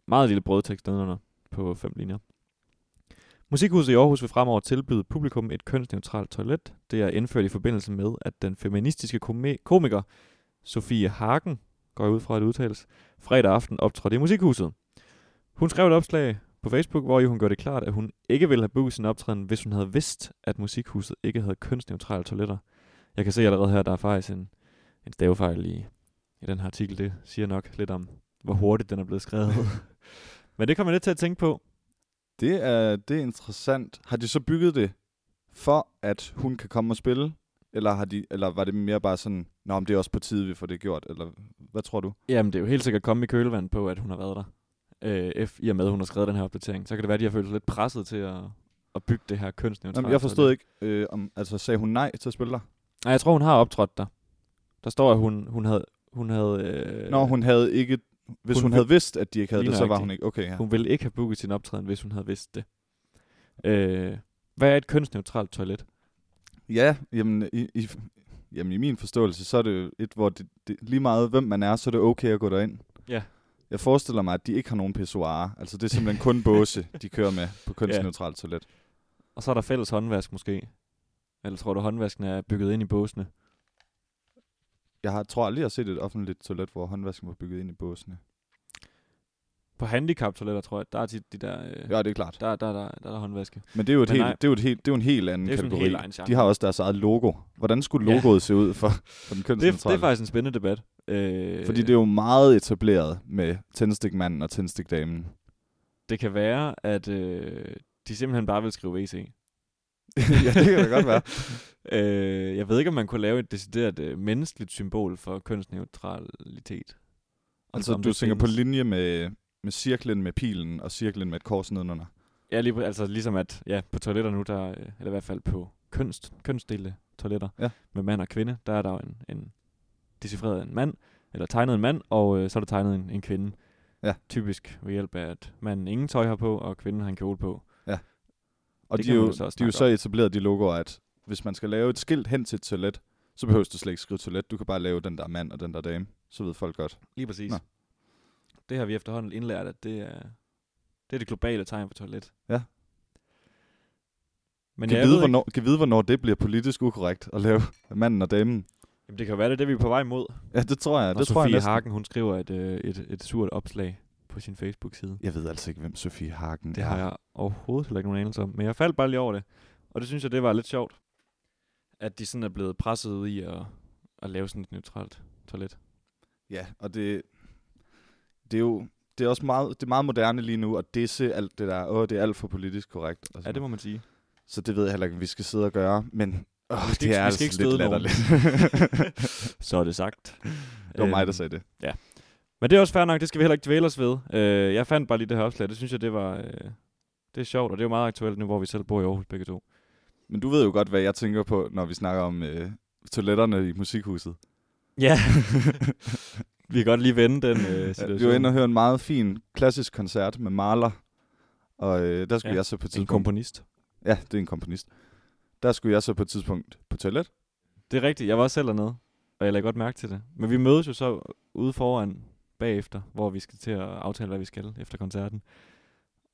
meget lille brødtekst nedenunder på fem linjer. Musikhuset i Aarhus vil fremover tilbyde publikum et kønsneutralt toilet. Det er indført i forbindelse med, at den feministiske kome- komiker Sofie Hagen, går jeg ud fra at udtales, fredag aften optrådte i Musikhuset. Hun skrev et opslag på Facebook, hvor hun gør det klart, at hun ikke ville have booket sin optræden, hvis hun havde vidst, at Musikhuset ikke havde kønsneutrale toiletter. Jeg kan se allerede her, at der er faktisk en, en stavefejl i, i den her artikel. Det siger nok lidt om, hvor hurtigt den er blevet skrevet. Men det kommer jeg lidt til at tænke på. Det er, det er interessant. Har de så bygget det for, at hun kan komme og spille? Eller, har de, eller var det mere bare sådan, Nå, men det er også på tide, vi får det gjort? Eller hvad tror du? Jamen, det er jo helt sikkert kommet i kølevand på, at hun har været der. Øh, F, I og med, at hun har skrevet den her opdatering. Så kan det være, at de har følt sig lidt presset til at, at bygge det her kønsneutrale. Jamen, jeg forstod toilet. ikke, øh, om, altså sagde hun nej til at spille der? Nej, jeg tror, hun har optrådt der. Der står, at hun, hun havde... Hun havde øh, Nå, hun havde ikke... Hvis hun hun, hun vil- havde vidst, at de ikke havde Lige det, så var nøjagtigt. hun ikke... Okay, ja. Hun ville ikke have booket sin optræden, hvis hun havde vidst det. Øh, hvad er et kønsneutralt toilet? Ja, jamen i, i, jamen i min forståelse, så er det jo et, hvor det, det, lige meget hvem man er, så er det okay at gå derind. Ja. Jeg forestiller mig, at de ikke har nogen pissoarer. Altså det er simpelthen kun båse, de kører med på kønsneutralt toilet. Og så er der fælles håndvask måske. Eller tror du, håndvasken er bygget ind i båsene? Jeg har, tror aldrig, jeg har set et offentligt toilet, hvor håndvasken var bygget ind i båsene. På handicap-toiletter, tror jeg, der er tit de der... Øh, Ja, det er klart. Der, der, der, der er der håndvaske. Men det er jo, et Men nej. helt, det er jo, et helt, det er jo en helt anden Det er jo sådan en kategori. helt egen genre. de har også deres eget logo. Hvordan skulle Ja. logoet se ud for, for den Det, det kønsneutrale? er faktisk en spændende debat. Øh, Fordi det er jo meget etableret med tændstikmanden og tændstikdamen. det kan være, at øh, de simpelthen bare vil skrive E WC. ja, det kan da godt være. øh, jeg ved ikke, om man kunne lave et decideret øh, menneskeligt symbol for kønsneutralitet. Om- Altså, om du det tænker på findes. linje med, med cirklen med pilen og cirklen med et kors nedenunder. Ja, lige, præ- altså ligesom at ja, på toiletter nu, der, øh, eller i hvert fald på kønst, kønsdelte toiletter Ja. med mand og kvinde, der er der jo en, en decifreret en mand, eller tegnet en mand, og øh, så er der tegnet en, en kvinde. Ja. Typisk ved hjælp af, at manden ingen tøj har på, og kvinden har en kjole på. Og Det de kan er man jo, jo så også de er jo snakke så etableret de logoer, at hvis man skal lave et skilt hen til et toilet, så behøver du slet ikke skrive toilet. Du kan bare lave den der mand og den der dame. Så ved folk godt. Lige præcis. Nå. Det har vi efterhånden indlært, at det er det, er det globale tegn for toilet. Ja. Men kan, jeg ved vide, ikke, hvornår, kan vide, hvornår det bliver politisk ukorrekt at lave manden og damen. jamen, det kan jo være, det er det, vi er på vej imod. Ja, Ja, det tror jeg. Når det Sofie tror jeg næsten. Hagen, hun skriver et, øh, et, et surt opslag på sin Facebook-side. Jeg ved altså ikke, hvem Sofie Hagen Det er. har jeg overhovedet heller ikke nogen anelse om. Men jeg faldt bare lige over det. Og det synes jeg, det var lidt sjovt. At de sådan er blevet presset ud i at, at lave sådan et neutralt toilet. Ja, og det, det er jo det er også meget, det er meget moderne lige nu at disse alt det der. Åh, det er alt for politisk korrekt. Og Ja, sådan det må man sige. Så det ved jeg heller ikke, om vi skal sidde og gøre, men åh, Vi skal det ikke- er vi skal altså ikke lidt støde nogen. latterligt. Så er det sagt. det var mig, Øhm, der sagde det. Men det er også fair nok, det skal vi heller ikke dvæle os ved. Øh, jeg fandt bare lige det her opslag, det synes jeg, det var... Øh, det er sjovt, og det er jo meget aktuelt nu, hvor vi selv bor i Aarhus begge to. Men du ved jo godt, hvad jeg tænker på, når vi snakker om øh, toiletterne i musikhuset. Ja. vi kan godt lige vende den øh, Ja, situation. vi var inde og høre en meget fin klassisk koncert med Mahler, og øh, der skulle Ja, ja, jeg så på et en tidspunkt... komponist. ja, det er en komponist. Der skulle jeg så på et tidspunkt på toilet. Det er rigtigt, jeg var også selv dernede, og jeg lagde godt mærke til det. Men vi mødes jo så ude foran bagefter, hvor vi skal til at aftale, hvad vi skal efter koncerten.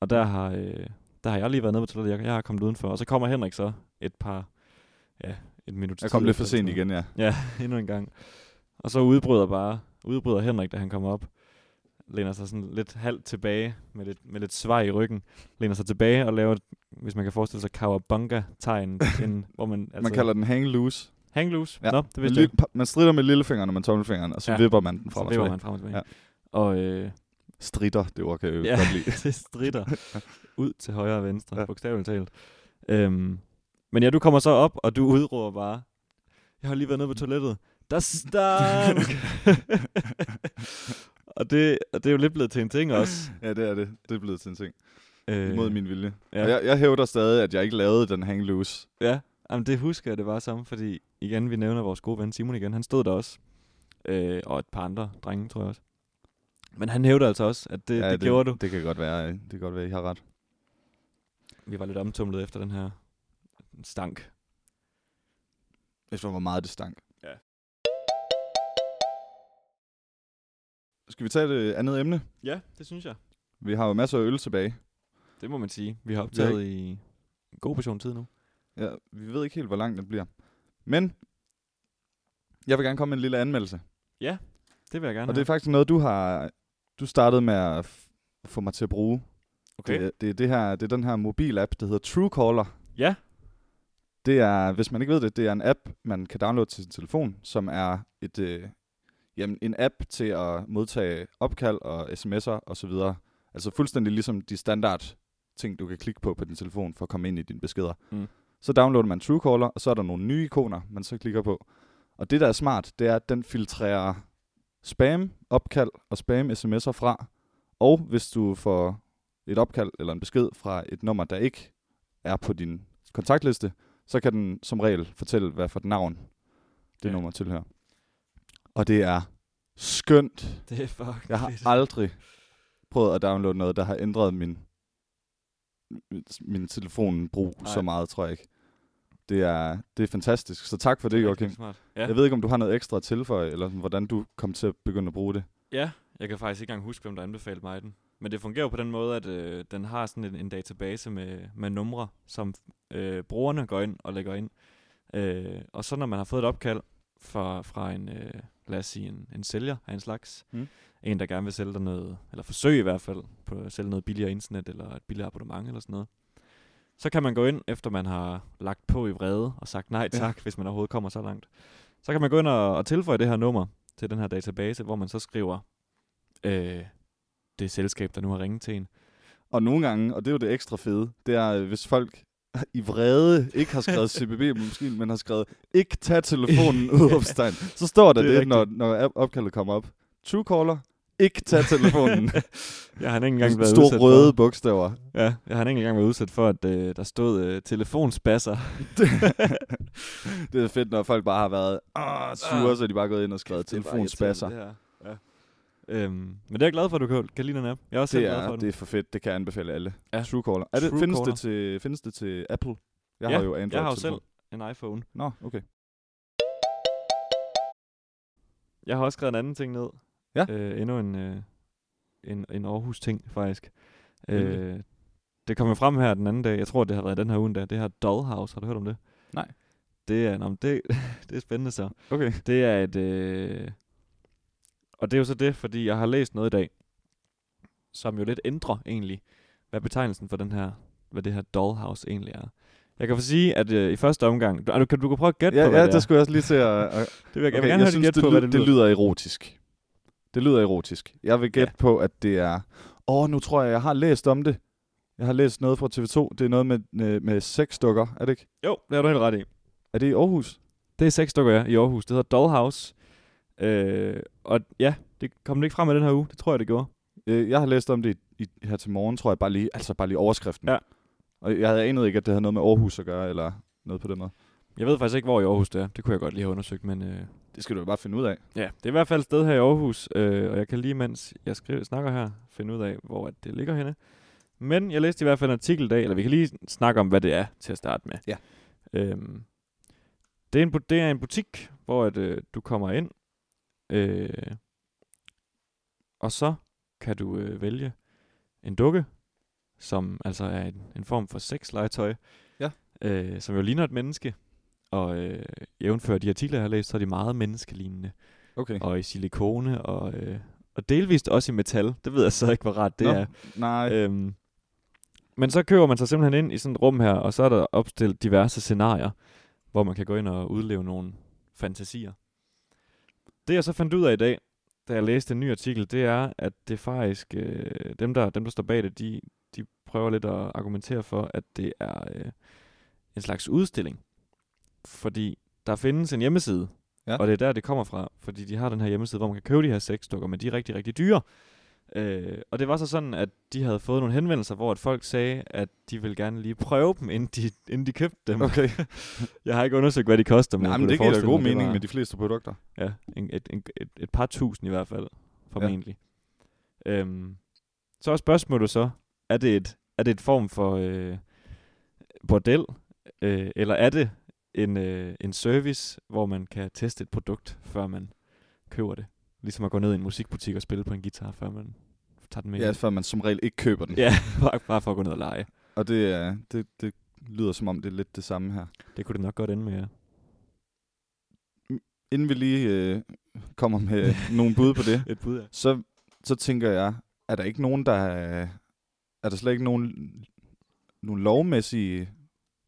Og der har, øh, der har jeg lige været nede på toilettet, jeg, jeg har kommet udenfor, og så kommer Henrik så et par, ja, et minut Jeg kom lidt for sent igen, ja. Ja, endnu en gang. Og så udbryder bare, udbryder Henrik, da han kommer op, læner sig sådan lidt halvt tilbage, med lidt, med lidt svej i ryggen, læner sig tilbage og laver, et- hvis man kan forestille sig, kawabanga-tegn, en- hvor man, altså, Man kalder den hang loose. hang loose. Ja, Nå, det Man, vidste jeg. li- man strider med lillefingeren og med tommelfingeren, og så Ja, ja. vipper man den Så frem og løber tilbage. man frem og tilbage. Ja. Og øh, Strider, det ord kan jeg jo Ja. godt lide. det strider ud til højre og venstre, ja. Ja. bogstaveligt talt. Øhm, men ja, du kommer så op, og du udråber bare, jeg har lige været nede Mm. på toilettet. Der stank! og, det, og det er jo lidt blevet til en ting også. Ja, det er det. Det er blevet til en ting. Øh, Mod min vilje. Ja. Ja. Og jeg, jeg hævder stadig, at jeg ikke lavede den hang loose. Ja, Jamen, det husker jeg, det var samme, fordi igen, vi nævner vores gode ven Simon igen, han stod der også, øh, og et par andre drenge, tror jeg også. Men han hævder altså også, at det, ja, det, det gjorde du. Det kan godt være, øh, det kan godt være, I har ret. Vi var lidt omtumlet efter den her stank. Hvis hvor meget det stank. Ja. Skal vi tage et øh, andet emne? Ja, det synes jeg. Vi har jo masser af øl tilbage. Det må man sige. Vi har optaget i en god portion tid nu. Ja, vi ved ikke helt, hvor lang den bliver. Men jeg vil gerne komme med en lille anmeldelse. Det vil jeg gerne Og det er faktisk noget, du har du startede med at f- få mig til at bruge. Okay. Det, er- det, er det, her, det er den her mobilapp, der hedder Truecaller. Ja. Det er, hvis man ikke ved det, det er en app, man kan downloade til sin telefon, som er et, øh, jamen, en app til at modtage opkald og sms'er og så videre. Altså fuldstændig ligesom de standard ting, du kan klikke på på din telefon for at komme ind i dine beskeder. Mm. Så downloader man Truecaller, og så er der nogle nye ikoner, man så klikker på. Og det, der er smart, det er, at den filtrerer spam opkald og spam sms'er fra. Og hvis du får et opkald eller en besked fra et nummer, der ikke er på din kontaktliste, så kan den som regel fortælle, hvad for et navn det Ja. nummer tilhører. Og det er skønt. Det er fucking Jeg har fedt. aldrig prøvet at downloade noget, der har ændret min, min telefonbrug Nej. så meget, tror jeg ikke. Det er, det er fantastisk. Så tak for det, rigtig Joachim. Smart. Ja. Jeg ved ikke, om du har noget ekstra at tilføje, eller sådan, hvordan du kom til at begynde at bruge det. Ja, jeg kan faktisk ikke engang huske, hvem der anbefalede mig den. Men det fungerer jo på den måde, at øh, den har sådan en, en database med, med numre, som øh, brugerne går ind og lægger ind. Øh, og så når man har fået et opkald fra, fra en, øh, lad os sige, en, en sælger af en slags, Mm. mm. en der gerne vil sælge dig noget, eller forsøge i hvert fald, på at sælge noget billigere internet, eller et billigere abonnement eller sådan noget, så kan man gå ind, efter man har lagt på i vrede og sagt nej Ja. tak, ja. hvis man overhovedet kommer så langt. Så kan man gå ind og, og tilføje det her nummer til den her database, hvor man så skriver øh, det selskab, der nu har ringet til en. Og nogle gange, og det er jo det ekstra fede, det er, øh, hvis folk i vrede ikke har skrevet CBB, måske, men har skrevet, ikke tag telefonen udopstegn. Så står der Det er det, det når, når op- opkaldet kommer op. Truecaller, ikke tag telefonen. Jeg har ikke engang været Store udsat røde For, bogstaver. ja, jeg har ikke engang været udsat for, at øh, der stod øh, telefonspasser. Det er fedt, når folk bare har været "Åh, sure, Ah. så er de bare gået ind og skrevet Kæft, det er bare telefonspasser. irriterende, det her. Ja. Øhm, men det er jeg glad for, at du kan, kan lide den app. Jeg er også Det selv glad er, for det den. er for fedt, det kan jeg anbefale alle. Ja. Truecaller. Er det, findes, Truecaller. det til, findes det til Apple? Jeg Ja, har jo Android. Jeg har jo selv en iPhone. Nå, okay. Jeg har også skrevet en anden ting ned. Ja. Øh, endnu en, øh, en, en Aarhus-ting, faktisk. Nemlig. Øh, det kom jo frem her den anden dag. Jeg tror, det har været den her uge endda. Det her Dollhouse, har du hørt om det? Nej. Det er, nå, men det, det er spændende så. Okay. Det er et... Øh... Og det er jo så det, fordi jeg har læst noget i dag, som jo lidt ændrer egentlig, hvad betegnelsen for den her, hvad det her dollhouse egentlig er. Jeg kan for sige, at øh, i første omgang... Du, ah, du, kan, du kan prøve at gætte Ja, på, hvad ja det er. det skulle jeg også lige til at, at Det vil jeg, okay, jeg Okay, vil gerne høre dit synes, gæt på, hvad det lyder. det lyder erotisk. Det lyder erotisk. Jeg vil gætte ja. på, at det er... Åh, oh, nu tror jeg, jeg har læst om det. Jeg har læst noget fra TV2. Det er noget med, med, med sexdukker, er det ikke? Jo, det har du helt ret i. Er det i Aarhus? Det er seks stykker ja, i Aarhus. Det hedder Dollhouse. Øh, og ja, det kom det ikke frem med den her uge. Det tror jeg, det gjorde. Øh, Jeg har læst om det i, i, her til morgen, tror jeg. Bare lige, altså bare lige overskriften. Ja. Og jeg havde anet ikke, at det havde noget med Aarhus at gøre, eller noget på den måde. Jeg ved faktisk ikke, hvor i Aarhus det er. Det kunne jeg godt lige have undersøgt, men øh, Det skal du jo bare finde ud af. ja, det er i hvert fald et sted her i Aarhus. Øh, og jeg kan lige, mens jeg skriver, snakker her, finde ud af, hvor at det ligger henne. Men jeg læste i hvert fald en artikel i dag, eller vi kan lige snakke om, hvad det er til at starte med. Ja. Øhm, det, er en, bu- det er en butik, hvor at, øh, du kommer ind, øh, og så kan du øh, vælge en dukke, som altså er en, en form for sexlegetøj, Ja. øh, som jo ligner et menneske. Og øh, jævnfører de artikler, jeg har læst, så er de meget menneskelignende. Okay. Og i silikone, og, øh, og delvist også i metal. Det ved jeg så ikke, hvor rart det Nå, er. Nej. Øhm, men så køber man sig simpelthen ind i sådan et rum her, og så er der opstillet diverse scenarier, hvor man kan gå ind og udleve nogle fantasier. Det jeg så fandt ud af i dag, da jeg læste en ny artikel, det er, at det faktisk, øh, dem, der, dem der står bag det, de, de prøver lidt at argumentere for, at det er øh, en slags udstilling. Fordi der findes en hjemmeside, Ja. ja. og det er der, det kommer fra. Fordi de har den her hjemmeside, hvor man kan købe de her sexdukker, men de er rigtig, rigtig dyre. Øh, og det var så sådan, at de havde fået nogle henvendelser, hvor at folk sagde, at de ville gerne lige prøve dem, inden de, inden de købte dem. Okay. Jeg har ikke undersøgt, hvad de koster, men Nej, jeg men kunne det da giver da forestille god mig, det mening var- med de fleste produkter. Ja, en, et, en, et, et par tusind i hvert fald, formentlig. Øhm, så er spørgsmålet så, er det et, er det et form for øh, bordel, øh, eller er det en, øh, en service, hvor man kan teste et produkt, før man køber det? Ligesom at gå ned i en musikbutik og spille på en guitar, før man tager den med. Ja, hjem. for man som regel ikke køber den. ja bare, bare for at gå ned og lege. Og det, er, det, det lyder som om, det er lidt det samme her. Det kunne det nok godt ende med, ja. Inden vi lige øh, kommer med nogle bud på det, Et bud, ja. så, så tænker jeg, er der ikke nogen, der er, er der slet ikke nogen, nogle lovmæssige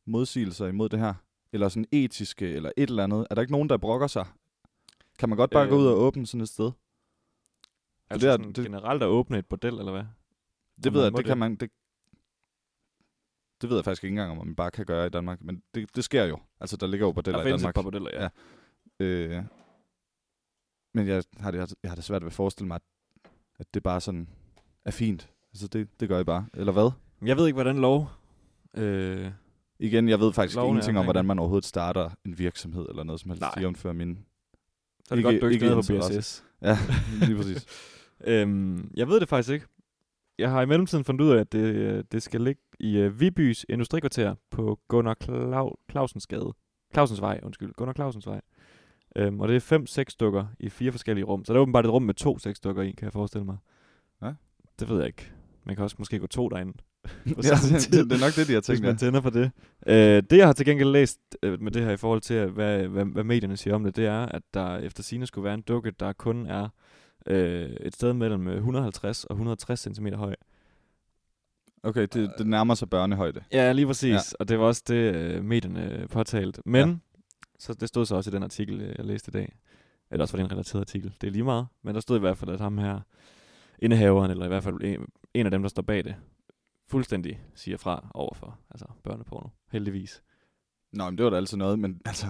modsigelser imod det her? Eller sådan etiske, eller et eller andet? Er der ikke nogen, der brokker sig? Kan man godt bare øh, gå ud Øhm. og åbne sådan et sted? Altså det det er- er, sådan det- generelt at åbne et bordel, eller hvad? Det Om ved man jeg, må det det. kan man... Det, det ved jeg faktisk ikke engang, om man bare kan gøre i Danmark, men det, det sker jo. Altså, der ligger jo bordeller der i findes et Danmark. par bordeller, ja. Ja. Øh, men jeg har, det, jeg har det svært ved at forestille mig, at- at det bare sådan er fint. Altså, det, det gør jeg bare. Eller hvad? Men Jeg ved ikke, hvordan lov... Øh, Igen, jeg ved faktisk Loven er ingenting om, omkring hvordan det. man overhovedet starter en virksomhed eller noget som helst, Nej. jævnfører mine. så er det Ikke- godt, du ikke ikke er på interesse. BSS. Ja, lige præcis. Øhm, jeg ved det faktisk ikke. Jeg har i mellemtiden fundet ud af, at det, øh, det skal ligge i øh, Vibys Industrikvarter på Gunnar Clau- Clausens gade. Clausens vej, undskyld. Gunnar Clausens vej. Øhm, og det er fem sexdukker i fire forskellige rum. Så der er åbenbart et rum med to sexdukker i, kan jeg forestille mig. Ja. Det ved jeg ikke. Man kan også måske gå to derinde. ja, På samme det, tid. det, er nok det, de har Hvis tænkt. man Ja. tænder for det. Øh, det, jeg har til gengæld læst øh, med det her i forhold til, at hvad, hvad, hvad medierne siger om det, det er, at der efter sine skulle være en dukke, der kun er øh, et sted mellem øh, 150 og 160 cm høj. Okay, det, det nærmer sig børnehøjde. Ja, lige præcis. Ja. Og det var også det, øh, medierne øh, påtalte. Men, ja. så det stod så også i den artikel, øh, jeg læste i dag. Eller også var det en relateret artikel. Det er lige meget. Men der stod i hvert fald, at ham her, indehaveren, eller i hvert fald en, en af dem, der står bag det, fuldstændig siger fra overfor altså børneporno. Heldigvis. Nå, men det var da altid noget, men altså...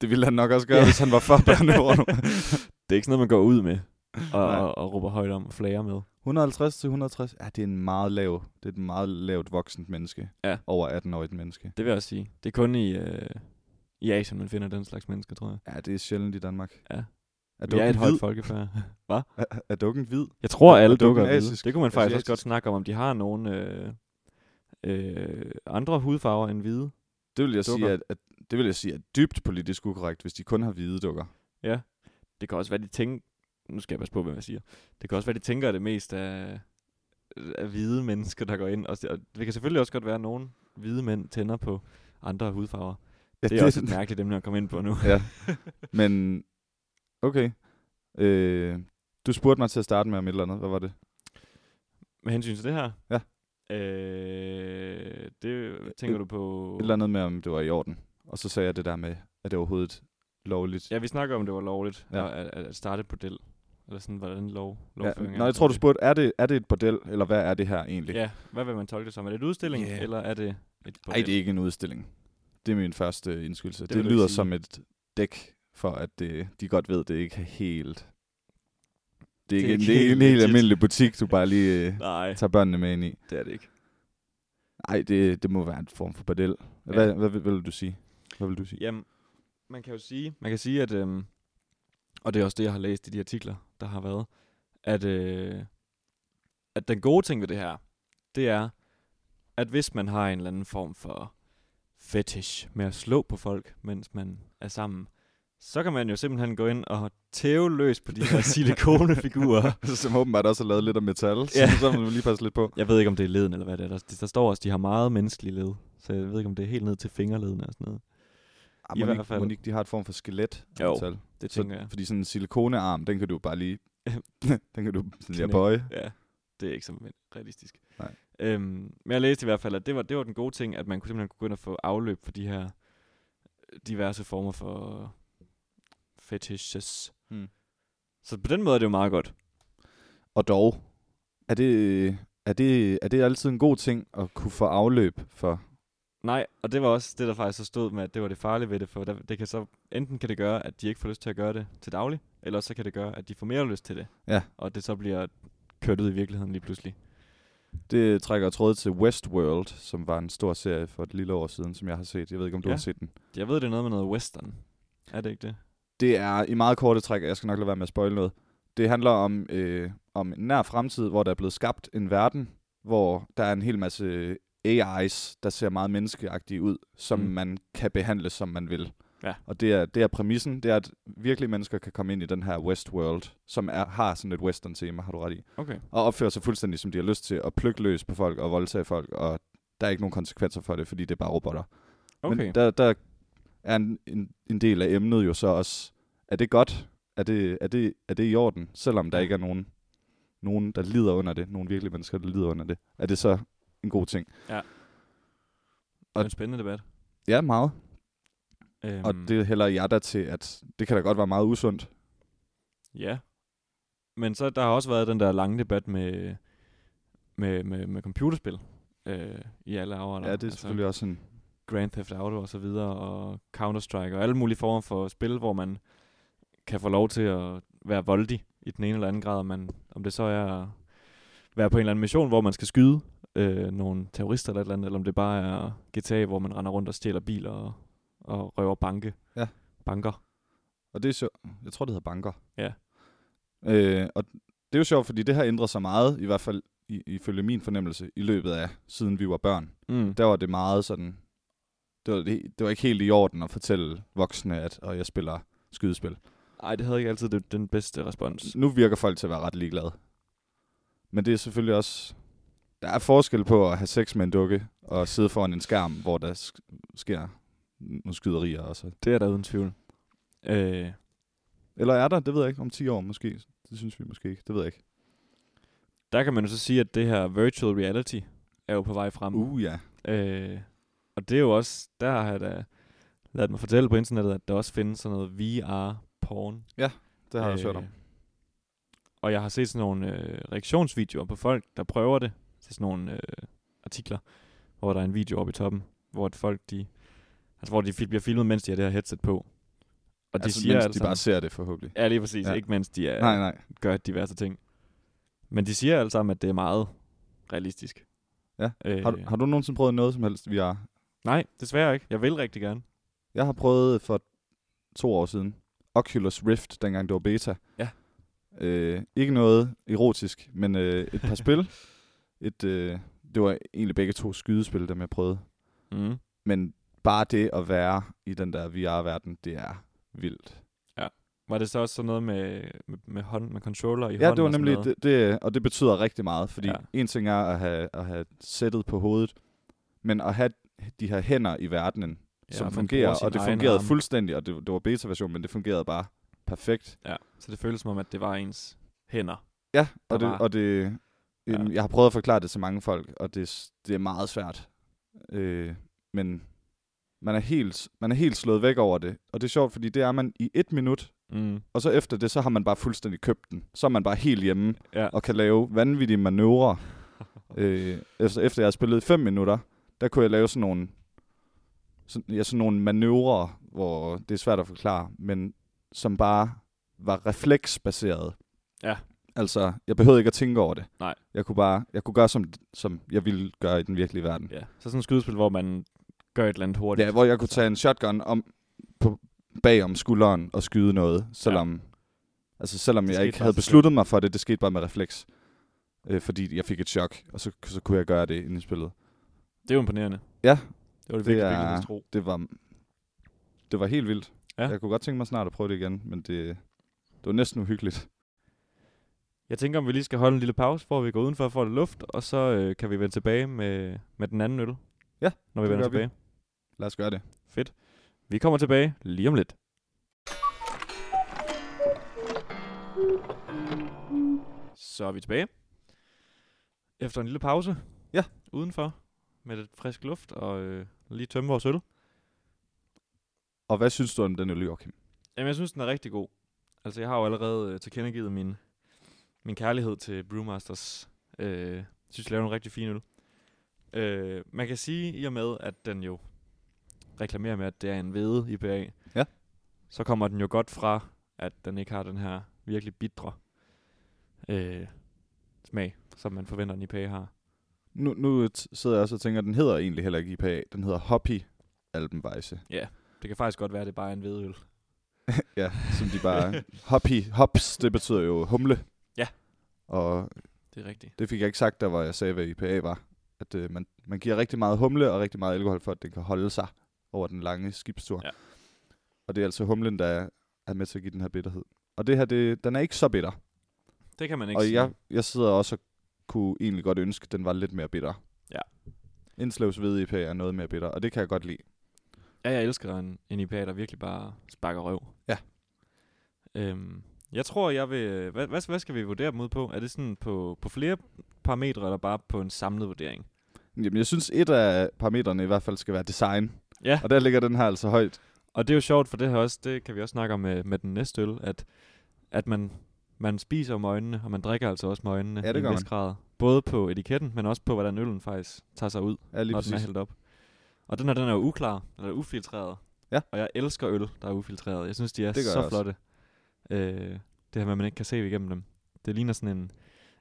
Det ville han nok også gøre, Ja. hvis han var for børnehøjde. Det er ikke sådan noget, man går ud med og, Nej. og, og råber højt om og flager med. 150 til 160, ja, det er en meget lav, det er et meget lavt voksent menneske. Ja. Over 18-årigt menneske. Det vil jeg også sige. Det er kun i, øh, i Asien, man finder den slags mennesker, tror jeg. Ja, det er sjældent i Danmark. Ja. Er Vi er dukken, et hvid? højt folkefærd. Er, er dukken hvid? Jeg tror, Er- er alle dukken dukker er hvide. asisk? Det kunne man faktisk også Asiatisk? godt snakke om, om de har nogle øh, øh, andre hudfarver end hvide. Det vil jeg Dukker. sige, at, at, det vil jeg sige er dybt politisk ukorrekt, hvis de kun har hvide dukker. Det kan også være, de tænker... Nu skal jeg passe på, hvad jeg siger. Det kan også være, de tænker, at det mest er, er hvide mennesker, der går ind. Og det og det kan selvfølgelig også godt være, at nogle hvide mænd tænder på andre hudfarver. Ja, Det er også et mærkeligt emne at komme ind på nu. ja. Men, okay. Øh, du spurgte mig til at starte med om et eller andet. Hvad var det? Med hensyn til det her? Ja. Øh, det tænker Et- du på... Et eller andet med, om det var i orden. Og så sagde jeg det der med, at det overhovedet lovligt. Ja, vi snakker om, det var lovligt Ja. ja. at, at, at starte et bordel. Eller sådan, hvordan lov, lovføringen ja, er. nej, jeg tror, du spurgte, er det, er det et bordel, eller hvad er det her egentlig? Ja, hvad vil man tolke det som? Er det en udstilling, Ja. yeah. eller er det et Nej, bordel? det er ikke en udstilling. Det er min første indskyldelse. Det, vil det du ikke lyder sige. som et dæk for, at det, de godt ved, det ikke er helt... Det er ikke, det er ikke, en, det er ikke en helt legit. almindelig butik, du bare lige øh, Nej, tager børnene med ind i. det er det ikke. Nej, det, det må være en form for bordel. Hvad, ja. hvad, vil- vil du sige? Hvad vil du sige? Jamen, man kan jo sige, man kan sige at... Øhm, og det er også det, jeg har læst i de artikler, der har været, at, øh, at den gode ting ved det her, det er, at hvis man har en eller anden form for fetish med at slå på folk, mens man er sammen, så kan man jo simpelthen gå ind og tæve løs på de her silikonefigurer. Som åbenbart også har lavet lidt af metal, så, Ja. så må man lige passe lidt på. Jeg ved ikke, om det er leden eller hvad det er. Der, der står også, at de har meget menneskelige led. Så jeg ved ikke, om det er helt ned til fingerledene og sådan noget. Ah, I hvert Monique, fald. Monique, de har et form for skelet af Jo, metal. Det Så, tænker jeg. fordi sådan en silikonearm, den kan du bare lige... den kan du sådan lige Knække. bøje. Ja, det er ikke så realistisk. Nej. Øhm, men jeg læste i hvert fald, at det var, det var den gode ting, at man kunne simpelthen kunne gå ind og få afløb for de her øh, diverse former for fetishes. Mm. Så på den måde er det jo meget godt. Og dog, er det, er, det, er det altid en god ting at kunne få afløb for? Nej, og det var også det, der faktisk så stod med, at det var det farlige ved det, for der, det kan så, enten kan det gøre, at de ikke får lyst til at gøre det til daglig, eller også så kan det gøre, at de får mere lyst til det. Ja. Og det så bliver kørt ud i virkeligheden lige pludselig. Det trækker tråd til Westworld, som var en stor serie for et lille år siden, som jeg har set. Jeg ved ikke, om du ja. Ja. har set den. Jeg ved, det er noget med noget western. Er det ikke det? Det er i meget korte træk, og jeg skal nok lade være med at spoil noget. Det handler om, øh, om en nær fremtid, hvor der er blevet skabt en verden, hvor der er en hel masse AI's, der ser meget menneskeagtige ud, som Mm. mm. man kan behandle, som man vil. Ja. Og det er, det er præmissen, det er, at virkelige mennesker kan komme ind i den her Westworld, som er, har sådan et western-tema, har du ret i. Okay. Og opføre sig fuldstændig, som de har lyst til, og plukke løs på folk og voldtage folk, og der er ikke nogen konsekvenser for det, fordi det er bare robotter. Okay. Men der, der er en, en, en del af emnet jo så også, er det godt? Er det, er det, er det i orden? Selvom der ikke er nogen, nogen, der lider under det, nogen virkelige mennesker, der lider under det, er det så en god ting? det er en spændende debat. Ja, meget. Øhm, Og det hælder jeg da til, at det kan da godt være meget usundt. Ja. Men så der har også været den der lange debat med, med, med, med computerspil øh, i alle afholder. Ja, det er selvfølgelig også en... Grand Theft Auto og så videre, og Counter-Strike og alle mulige former for spil, hvor man kan få lov til at være voldig i den ene eller anden grad, om, man, om det så er at være på en eller anden mission, hvor man skal skyde øh, nogle terrorister eller et eller andet, eller om det bare er GTA, hvor man render rundt og stjæler biler og, og røver banke. Ja. Banker. Og det er så... Jeg tror, det hedder banker. Ja. Øh, og det er jo sjovt, fordi det har ændret sig meget, i hvert fald i, ifølge min fornemmelse, i løbet af, siden vi var børn. Mm. der var det meget sådan, det var, det, det var ikke helt i orden at fortælle voksne, at og jeg spiller skydespil. Ej, det havde ikke altid det, den bedste respons. Nu virker folk til at være ret ligeglade. Men det er selvfølgelig også, der er forskel på at have sex med en dukke, og sidde foran en skærm, hvor der sk- sker nogle skyderier og så. Det er der uden tvivl. Øh, Eller er der, det ved jeg ikke, om 10 år måske. Det synes vi måske ikke, det ved jeg ikke. der kan man jo så sige, at det her virtual reality er jo på vej frem. Uh ja. Øh, og det er jo også, der har jeg da ladet mig fortælle på internettet, at der også findes sådan noget VR-porn. Det har jeg også hørt om. Øh, Og jeg har set sådan nogle øh, reaktionsvideoer på folk, der prøver det. Så sådan nogle øh, artikler, hvor der er en video oppe i toppen, hvor at folk de, altså hvor de fil- bliver filmet, mens de har det her headset på. Og de altså, siger mens altså, de bare ser det forhåbentlig. Ja, lige præcis. Ja. Ja. Ikke mens de er, Nej, nej. gør diverse ting. Men de siger alle sammen, at det er meget realistisk. Ja. Øh, Har, du- har du nogensinde prøvet noget som helst VR? Nej, desværre ikke. Jeg vil rigtig gerne. Jeg har prøvet for to år siden Oculus Rift, dengang det var beta. Ja. Øh, ikke noget erotisk, men øh, et par spil. Et, øh, det var egentlig begge to skydespil, dem jeg prøvede. Mm. Men bare det at være i den der VR-verden, det er vildt. Var det så også sådan noget med, med, med, hånd, med controller i Ja, hånden? det var og sådan nemlig, noget? det, det, og det betyder rigtig meget, fordi Ja. ja. en ting er at have, at have sættet på hovedet, men at have de her hænder i verdenen, ja, man som bruger fungerer, sin og det egen fungerede arm. fuldstændig, og det, det var beta-version, men det fungerede bare perfekt. Ja, så det føles som om, at det var ens hænder. Ja, der og det, var. og det øhm, Ja. ja. jeg har prøvet at forklare det til mange folk, og det, s- det er meget svært. Øh, men man er, helt, man er helt slået væk over det. Og det er sjovt, fordi det er man i et minut, Mm. og så efter det, så har man bare fuldstændig købt den. Så er man bare helt hjemme Ja. og kan lave vanvittige manøvrer. øh, efter, efter jeg har spillet i fem minutter, der kunne jeg lave sådan nogle, sådan, ja, sådan nogle manøvrer, hvor det er svært at forklare, men som bare var refleksbaseret. Ja. Altså, jeg behøvede ikke at tænke over det. Nej. Jeg kunne bare, jeg kunne gøre, som, som jeg ville gøre i den virkelige verden. ja. Så sådan et skydespil, hvor man gør et eller andet hurtigt. Ja, hvor jeg kunne tage en shotgun om, på, bag om skulderen og skyde noget, selvom, ja. altså, selvom Det jeg skete ikke bare havde sig selv. besluttet mig for det. Det skete bare med refleks. Øh, fordi jeg fik et chok, og så, så kunne jeg gøre det inde i spillet. Det er jo imponerende. Ja. Det var det, Det virkelig, er- virkelig, tro. Det var, det var helt vildt. Ja. Ja. Jeg kunne godt tænke mig snart at prøve det igen, men det, det var næsten uhyggeligt. Jeg tænker, om vi lige skal holde en lille pause, hvor vi går udenfor og får lidt luft, og så øh, kan vi vende tilbage med, med den anden øl. Ja, når vi det vender gør vi. tilbage. Lad os gøre det. Fedt. Vi kommer tilbage lige om lidt. Så er vi tilbage. Efter en lille pause. Ja. Udenfor. Med lidt frisk luft og øh, lige tømme vores øl. Og hvad synes du om den øl, Joachim? Jamen, jeg synes, den er rigtig god. Altså, jeg har jo allerede øh, tilkendegivet min, min kærlighed til Brewmasters. Øh, jeg synes, de laver en rigtig fin øl. Øh, man kan sige, i og med, at den jo reklamerer med, at det er en hvede IPA, Ja. så kommer den jo godt fra, at den ikke har den her virkelig bitre øh, smag, som man forventer, en IPA har. Nu, nu t- sidder jeg også og tænker, at den hedder egentlig heller ikke IPA. Den hedder Hoppy Alpenweisse. Det kan faktisk godt være, at det bare er en hvedeøl. Ja, som de bare... Hoppy, hops, det betyder jo humle. Og Det er rigtigt. det fik jeg ikke sagt, der hvor jeg sagde, hvad IPA var. At øh, man, man giver rigtig meget humle og rigtig meget alkohol, for at den kan holde sig over den lange skibstur. Ja. Og det er altså humlen, der er, er med til at give den her bitterhed. Og det her, det, den er ikke så bitter. Det kan man ikke Og sige. jeg, jeg sidder også og kunne egentlig godt ønske, at den var lidt mere bitter. Ja. Indslevs hvide IPA er noget mere bitter, og det kan jeg godt lide. Ja, jeg elsker en, en IPA, der virkelig bare sparker røv. Ja. Øhm, jeg tror, jeg vil... Hvad, hvad, hvad skal vi vurdere dem ud på? Er det sådan på, på flere parametre, eller bare på en samlet vurdering? Jamen, jeg synes, et af parametrene i hvert fald skal være design. Ja. Og der ligger den her altså højt. Og det er jo sjovt, for det her også, det kan vi også snakke om med, med den næste øl, at, at man, man spiser med øjnene, og man drikker altså også med øjnene Ja, det i en gør vis man. grad. Både på etiketten, men også på, hvordan øllen faktisk tager sig ud, Ja, lige når den er præcis. hældt op. Og den her, den er jo uklar, eller ufiltreret. Ja. Og jeg elsker øl, der er ufiltreret. Jeg synes, de er Det gør jeg så også. flotte. Øh, det her med, at man ikke kan se igennem dem. Det ligner sådan en,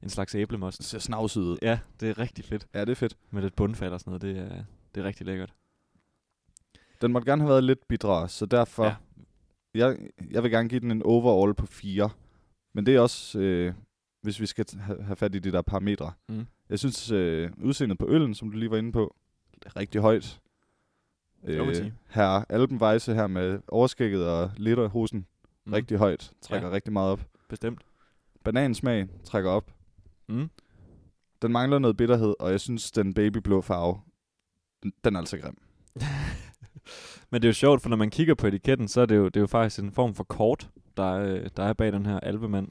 en slags æblemost. Den ser snavset ud. Ja, det er rigtig fedt. Ja, det er fedt. Med lidt bundfald og sådan noget, det er, det er rigtig lækkert. Den måtte gerne have været lidt bitrere, så derfor... Ja. Ja. Jeg, jeg vil gerne give den en overall på 4. Men det er også, øh, hvis vi skal t- ha- have fat i de der parametre. Mm. Jeg synes, øh, udseendet på øllen, som du lige var inde på, er rigtig højt. Øh, Det må man sige. her Alpenweisse her med overskægget og lederhosen, mm. rigtig højt. Trækker ja. rigtig meget op. Bestemt. Banansmag trækker op. Mm. Den mangler noget bitterhed, og jeg synes, den babyblå farve, den, den er altså grim. Men det er jo sjovt, for når man kigger på etiketten, så er det jo, det er jo faktisk en form for kort, der er, øh, der er bag den her alvemand.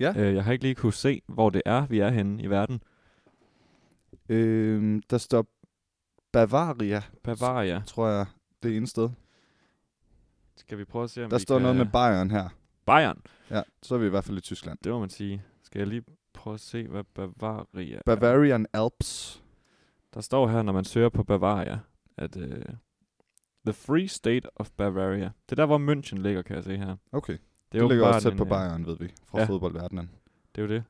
Ja. Øh, jeg har ikke lige kunne se, hvor det er, vi er henne i verden. Øh, der står Bavaria, Bavaria. tror jeg, det ene sted. Skal vi prøve at se, om Der vi står kan... noget med Bayern her. Bayern. Ja, så er vi i hvert fald i Tyskland. Det må man sige. Skal jeg lige prøve at se, hvad Bavaria er? Bavarian Alps. Der står her, når man søger på Bavaria, at uh, The Free State of Bavaria. Det er der, hvor München ligger, kan jeg se her. Okay, Det det, det ligger åbenbart også tæt en, på øh, Bayern, ved vi, fra ja. ja. fodboldverdenen. Det er jo det.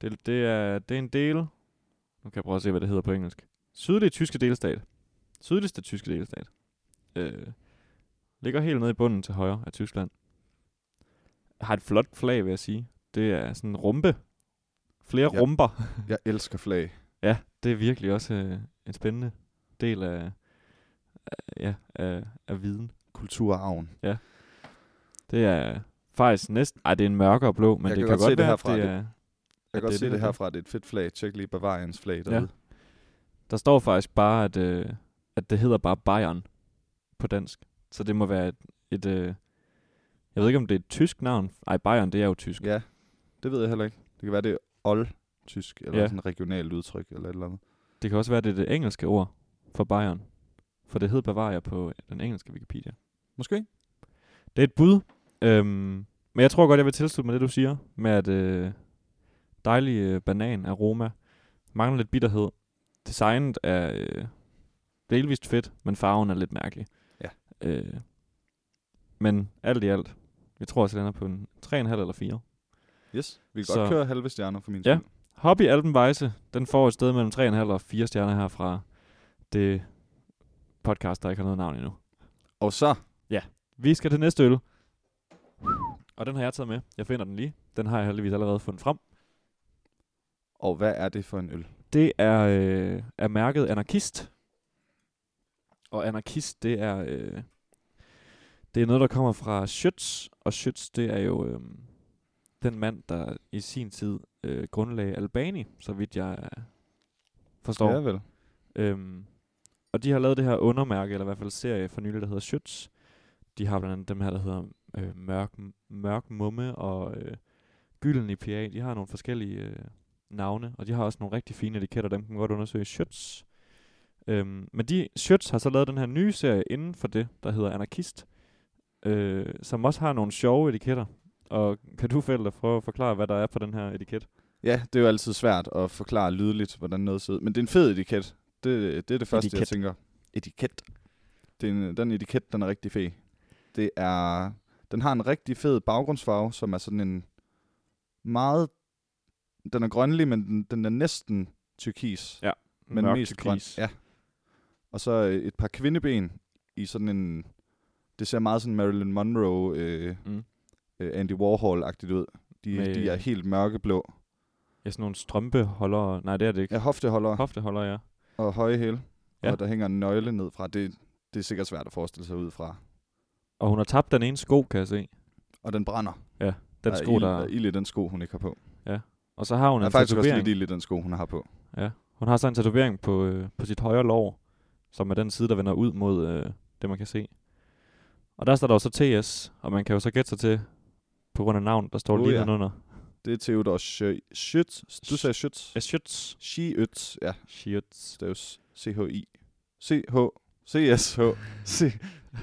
Det, det, er, det er en del... Nu kan jeg prøve at se, hvad det hedder på engelsk. Sydlige tyske delstat. Sydligste tyske delstat. Øh, ligger helt nede i bunden til højre af Tyskland. Har et flot flag, vil jeg sige. Det er sådan en rumpe. Flere Ja. rumper. Jeg elsker flag. Ja, det er virkelig også øh, en spændende del af, af, ja, af, af viden. Kulturarven. Det er faktisk næsten... Ej, det er en mørkere blå, men Jeg det kan kan godt se godt det være, herfra, at det det- er... Jeg kan det godt er se det, det der- herfra, det er et fedt flag. Tjek lige Bavarians flag derude. Der står faktisk bare, at, øh, at det hedder bare Bayern på dansk. Så det må være et... et øh, jeg ved ikke, om det er et tysk navn. Ej, Bayern, det er jo tysk. Ja, det ved jeg heller ikke. Det kan være, det er old-tysk, eller Ja. ja. sådan et regionalt udtryk, eller et eller andet. Det kan også være, det er det engelske ord for Bayern. For det hed Bavaria på den engelske Wikipedia. Måske. Det er et bud. Øhm, men jeg tror godt, jeg vil tilslutte mig det, du siger, med at øh, dejlig øh, banan aroma, mangler lidt bitterhed. Designet er øh, delvist fedt, men farven er lidt mærkelig. Ja. Øh, men alt i alt, vi tror også, den er på en 3,5 eller 4. Yes, vi kan Så- så. godt køre halve stjerner for min Ja. skyld. Hobby Alpenweise, den får et sted mellem 3,5 og 4 stjerner her fra det podcast, der ikke har noget navn endnu. Og så, Vi skal til næste øl. Og den har jeg taget med. Jeg finder den lige. Den har jeg heldigvis allerede fundet frem. og hvad er det for en øl? Det er, øh, er mærket anarkist. Og anarkist, det er, øh, det er noget, der kommer fra Schütz. Og Schütz, det er jo øh, den mand, der i sin tid øh, grundlagde Albani, så vidt jeg øh, forstår. Ja vel. Øhm, og de har lavet det her undermærke, eller i hvert fald serie for nylig, der hedder Schütz. De har blandt andet dem her, der hedder øh, Mørk, Mørk Mumme og øh, Gylden IPA. De har nogle forskellige øh, navne, og de har også nogle rigtig fine etiketter, dem kan man godt undersøge. Schütz. Øhm, men de, Schütz har så lavet den her nye serie inden for det, der hedder Anarkist, øh, som også har nogle sjove etiketter. Og kan du, Fælder, prøve at forklare, hvad der er på den her etiket? Ja, det er jo altid svært at forklare lydligt, hvordan noget ser ud. Men det er en fed etiket. Det, det er det første, Etiket. jeg tænker. Etiket. Det er en, den etiket, den er rigtig fed. Det er, den har en rigtig fed baggrundsfarve, som er sådan en meget... Den er grønlig, men den, den er næsten tyrkis. Ja, men Mørk mest grøn. turkis. Ja. Og så øh, et par kvindeben i sådan en... Det ser meget sådan Marilyn Monroe, øh, Mm. mm. Andy Warhol-agtigt ud. De, Med- de er helt mørkeblå. Ja, sådan nogle strømpeholdere. Nej, det er det ikke. Ja, hofteholder Hofteholder, ja. og høje hæle, Ja. ja. og der hænger en nøgle ned fra. Det, det er sikkert svært at forestille sig ud fra. Og hun har tabt den ene sko, kan jeg se. Og den brænder. Den Der er sko, ild- der... Der er ild i den sko, hun ikke har på. Og så har hun Der er en faktisk også lidt tatovering. ild i den sko, hun har på. Ja. Hun har så en tatovering på, øh, på sit højre lår, som er den side, der vender ud mod øh, det, man kan se. Og der står der jo så TS, og man kan jo så gætte sig til, på grund af navn, der står Uh, lige ja. nedenunder. Det er Theodor Schø- Schütz. Du sagde Schütz. Eschütz. Schütz, ja. Schütz. Staves C-H-I. C-H. C-S-H. C.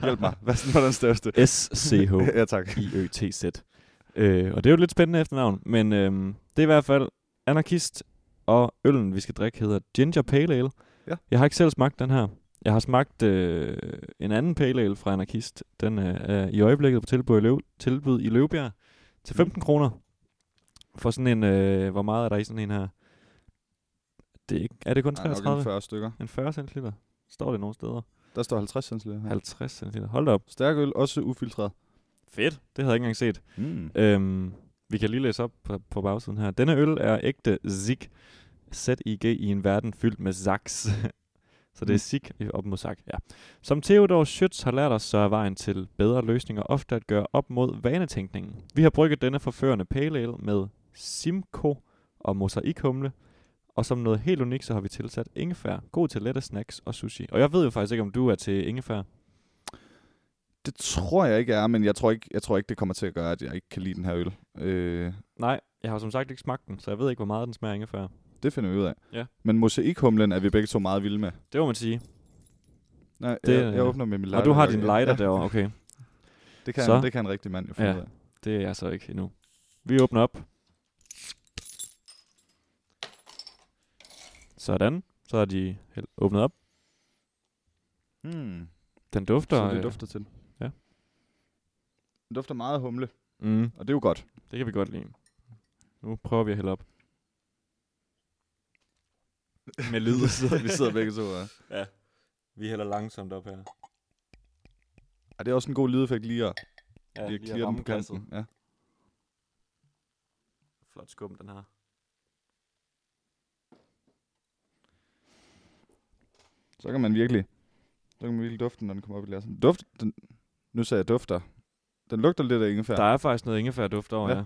Hjælp mig. Hvad hvordan staves det? S-C-H. ja, tak. I-Ø-T-Z. Øh, og det er jo et lidt spændende efternavn, men øhm, det er i hvert fald anarkist, og øllen, vi skal drikke, hedder Ginger Pale Ale. Ja. Jeg har ikke selv smagt den her. Jeg har smagt øh, en anden Pale Ale fra Anarkist. Den øh, er i øjeblikket på tilbud i, Løv, tilbud i Løvbjerg Mm. til 15 kroner. For sådan en, øh, hvor meget er der i sådan en her? Det er, ikke, er det kun Ej, nok en 33? 40 stykker. en 40 cl? Står det nogle steder? Der står 50 centiliter. her. 50 cl. Hold da op. Stærk øl, også ufiltreret. Fedt. Det havde jeg ikke engang set. Mm. Øhm, vi kan lige læse op på, på bagsiden her. Denne øl er ægte zig. Z-I-G i en verden fyldt med zaks. så det er Mm. zig op mod zak, ja. Som Theodor Schütz har lært os, så er vejen til bedre løsninger ofte at gøre op mod vanetænkningen. Vi har brygget denne forførende pale ale med simko og mosaikhumle, og som noget helt unikt, så har vi tilsat ingefær. God til lette snacks og sushi. Og jeg ved jo faktisk ikke, om du er til ingefær. Det tror jeg ikke jeg er, men jeg tror ikke, jeg tror ikke, det kommer til at gøre, at jeg ikke kan lide den her øl. Øh, Nej, jeg har jo som sagt ikke smagt den, så jeg ved ikke, hvor meget den smager af ingefær. det finder vi ud af. Ja. Men mosaikhumlen er vi begge to meget vilde med. Det må man sige. Nej, det, Det, jeg, jeg, øh, åbner med min lighter. Og du har jeg- din ja, lighter ja, derovre, okay. Det kan, Så. det kan en rigtig mand jo finde Ja. ud af. Det er jeg så ikke endnu. Vi åbner op. Sådan. Så har de hæl- åbnet op. Hmm. Den dufter... Så det øh, dufter til. ja. Den dufter meget af humle, Mm, og det er jo godt. det kan vi godt lide. Nu prøver vi at hælde op. Med Vi sidder, vi sidder begge to. Ja. vi hælder langsomt op her. Ej, det er også en god lydeffekt lige at, Ja, lige at clear den på kanten. Ja. Flot skum, den her. Så kan man virkelig, så kan man virkelig dufte den, når den kommer op i glasset. Duft, den, nu sagde jeg dufter. Den lugter lidt af ingefær. Der er faktisk noget ingefærduft over, ja. Ja. ja.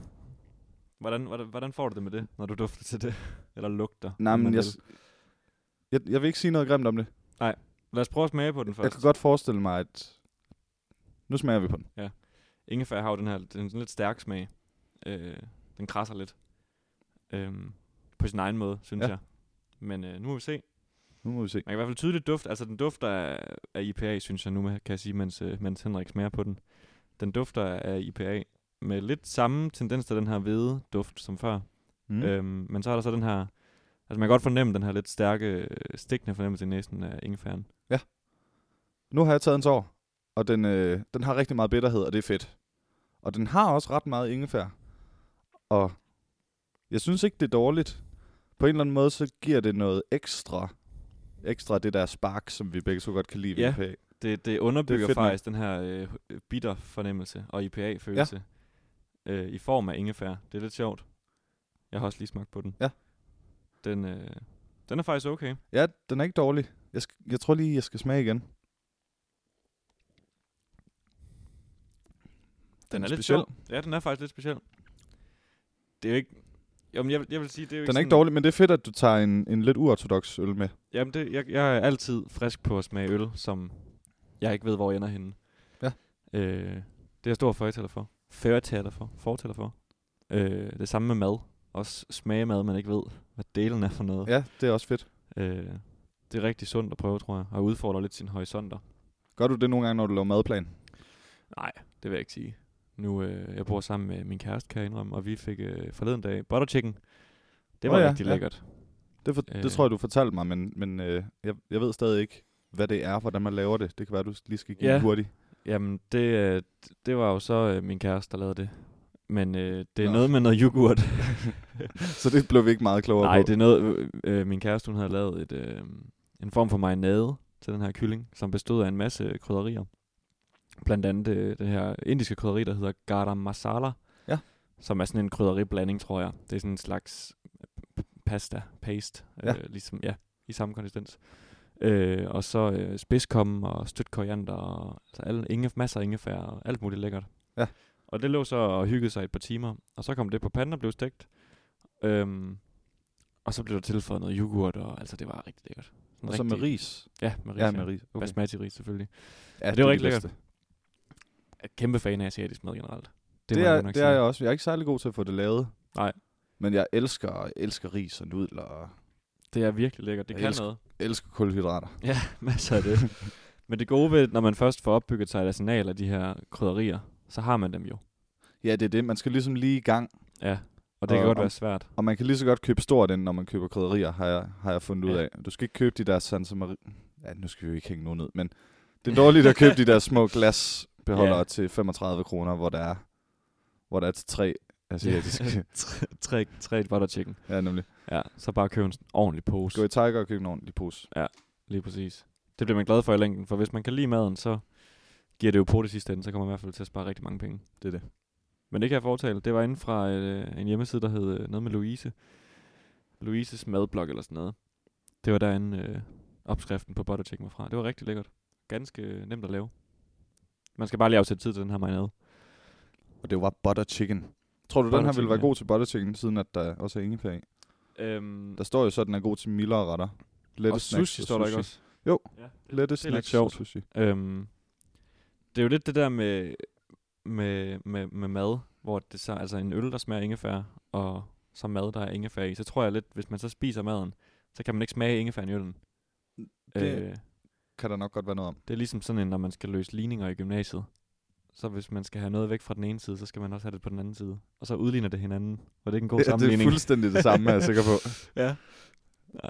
Hvordan, hvordan, hvordan får du det med det, når du dufter til det? Eller lugter? Nej, om man men jeg, vil. jeg, jeg vil ikke sige noget grimt om det. Lad os prøve at smage på den Jeg først. kan godt forestille mig, at nu smager vi på den. ingefær har jo den her den sådan lidt stærk smag. Øh, den krasser lidt. Øhm, på sin egen måde, synes ja. Ja. jeg. Men øh, nu må vi se. Nu må vi se. Man kan i hvert fald tydeligt duft. Altså, den dufter af, af IPA, synes jeg nu, kan jeg sige, mens, øh, mens Henrik smager på den. Den dufter af IPA med lidt samme tendens til den her hvide duft som før. Mm. Mm. Øhm, men så er der så den her... Altså, man kan godt fornemme den her lidt stærke, øh, stikkende fornemmelse i næsen af ingefæren. Nu har jeg taget en tår, og den, øh, den har rigtig meget bitterhed, og det er fedt. Og den har også ret meget ingefær. Og jeg synes ikke, det er dårligt. På en eller anden måde, så giver det noget ekstra. Ekstra det der spark, som vi begge så godt kan lide ved Ja. IPA. Det, det underbygger det fedt nok. faktisk den her øh, øh, bitter fornemmelse og IPA-følelse ja. øh, i form af ingefær. Det er lidt sjovt. Jeg har også lige smagt på den. Ja. Den, øh, den er faktisk okay. Ja, den er ikke dårlig. Jeg, sk- jeg tror lige, jeg skal smage igen. Den, Den er, lidt speciel. Ja, den er faktisk lidt speciel. Det er jo ikke... Jamen, jeg, vil- jeg vil sige, det er jo Den er sådan, ikke dårlig, men det er fedt, at du tager en, en lidt uortodox øl med. Jamen, det, jeg, jeg er altid frisk på at smage øl, som jeg ikke ved, hvor jeg ender henne. Ja. Øh, det er jeg stor fortaler for. Fortaler for. Fortaler for. Øh, det samme med mad. Også smage mad, man ikke ved, hvad delen er for noget. Ja, det er også fedt. Øh, det er rigtig sundt at prøve, tror jeg. Og udfordre lidt sine horisonter. Gør du det nogle gange, når du laver madplan? Nej, det vil jeg ikke sige. Nu, øh, jeg bor sammen med min kæreste, kan jeg indrømme, og vi fik øh, forleden dag butter chicken. Det Nå var ja, rigtig ja. lækkert. Det, for, Øh. det tror jeg, du fortalte mig, men, men øh, jeg, jeg ved stadig ikke, hvad det er, hvordan man laver det. Det kan være, du lige skal give Ja. ja. hurtigt. Jamen, det, øh, det var jo så øh, min kæreste, der lavede det. Men øh, det er Nå. Nå. noget med noget yoghurt. Så det blev vi ikke meget klogere Nej, på. det er noget, øh, øh, min kæreste, hun havde lavet et, øh, en form for marinade til den her kylling, som bestod af en masse øh, krydderier. Blandt andet øh, det her indiske krydderi, der hedder garam masala, Ja. som er sådan en krydderiblanding, tror jeg. Det er sådan en slags øh, pasta paste, Ja. øh, ligesom, ja, i samme konsistens. Øh, og så øh, spidskommen og stødt koriander, og altså alle, inge, masser af ingefær og alt muligt lækkert. Ja. Og det lå så og hyggede sig et par timer, og så kom det på panden og blev stegt. Øhm, og så blev der tilføjet noget yoghurt, og altså det var rigtig lækkert. Sådan Og så med rigtig- ris. Ja, med ris. Ja, med ris. Okay. Okay. Basmati-ris selvfølgelig. Ja, det var er rigtig det lækkert. bedste. Jeg er kæmpe fan af asiatisk mad generelt. Det, må det, jeg er, godt nok det er sige. jeg også. Jeg er ikke særlig god til at få det lavet. Nej. Men jeg elsker, elsker ris og nudler og Det er virkelig lækkert. Det Jeg kan elsker- noget. elsker kulhydrater. Ja, masser af det. Men det gode ved, når man først får opbygget sig et arsenal af de her krydderier, så har man dem jo. Ja, det er det. Man skal ligesom lige i gang. Ja, og det Og kan godt om- være svært. Og man kan lige så godt købe stort ind, når man køber krydderier, har jeg, har jeg fundet ud Ja. af. Du skal ikke købe de der Santa Maria... Ja, nu skal vi jo ikke hænge nogen ned, men det er dårligt at købe de der små glasbeholdere Ja. til 35 kroner, hvor der er, hvor der er til tre asiatiske. tre, tre, tre butter chicken. Ja, nemlig. Ja, så bare køb en sådan ordentlig pose. Gå i Tiger og køb en ordentlig pose. Lige præcis. Det bliver man glad for i længden, for hvis man kan lide maden, så giver det jo på det sidste ende, så kommer man i hvert fald til at spare rigtig mange penge. Det er det. Men det kan jeg fortælle. Det var inde fra øh, en hjemmeside, der hed øh, noget med Louise. Louises madblog eller sådan noget. Det var derinde øh, opskriften på butter chicken var fra. Det var rigtig lækkert. Ganske øh, nemt at lave. Man skal bare lige afsætte tid til den her marinade. Og det var butter chicken. Tror du, butter den her Butter ville være chicken, ja. god til butter chicken, siden at der også er ingefær i? Øhm, Der står jo så, at den er god til mildere retter. Lette og snacks sushi står der ikke også? Jo. Ja, det, Lette det er lidt snacks sjovt. og sushi. Øhm, det er jo lidt det der med, med, med, med mad, hvor det så, altså en øl, der smager af ingefær, og så mad, der er ingefær i. Så tror jeg lidt, hvis man så spiser maden, så kan man ikke smage ingefæren i øllen. Det- Øh, Kan der nok godt være noget om. det er ligesom sådan, en, når man skal løse ligninger i gymnasiet. Så hvis man skal have noget væk fra den ene side, så skal man også have det på den anden side. Og så udligner det hinanden. Var det ikke en god Ja, det er sammenligning? fuldstændig det samme, er jeg sikker på. ja.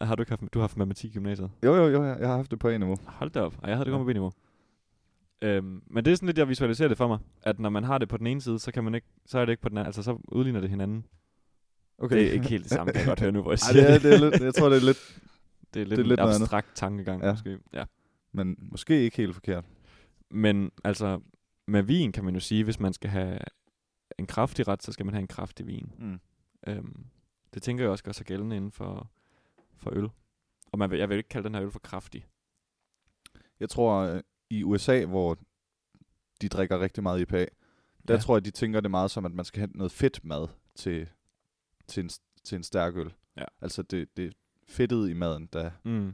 Har du ikke haft, du har haft matematik i gymnasiet? Jo, jo, jo, jeg jeg har haft det på en niveau. Hold da op. Og jeg havde det Ja. godt med B-niveau. Øhm, men det er sådan lidt, jeg visualiserer det for mig. At når man har det på den ene side, så, kan man ikke, så er det ikke på den anden. Altså, så udligner det hinanden. Okay. Det er ikke helt det samme, kan jeg godt høre nu, hvor jeg Ej, siger det er, det er lidt, jeg tror, det er lidt, det er lidt, det er en lidt noget andet. abstrakt tankegang, ja. Ja. måske. Ja. men måske ikke helt forkert. Men altså, med vin kan man jo sige, hvis man skal have en kraftig ret, så skal man have en kraftig vin. Mm. Øhm, det tænker jeg også gør sig gældende inden for, for øl. Og man vil, jeg vil ikke kalde den her øl for kraftig. Jeg tror, øh, i USA, hvor de drikker rigtig meget IPA, der Ja. ja. tror jeg, de tænker det meget som, at man skal have noget fedt mad til, til, en, til en stærk øl. Ja. Altså det, det fedtede i maden, der, Mm.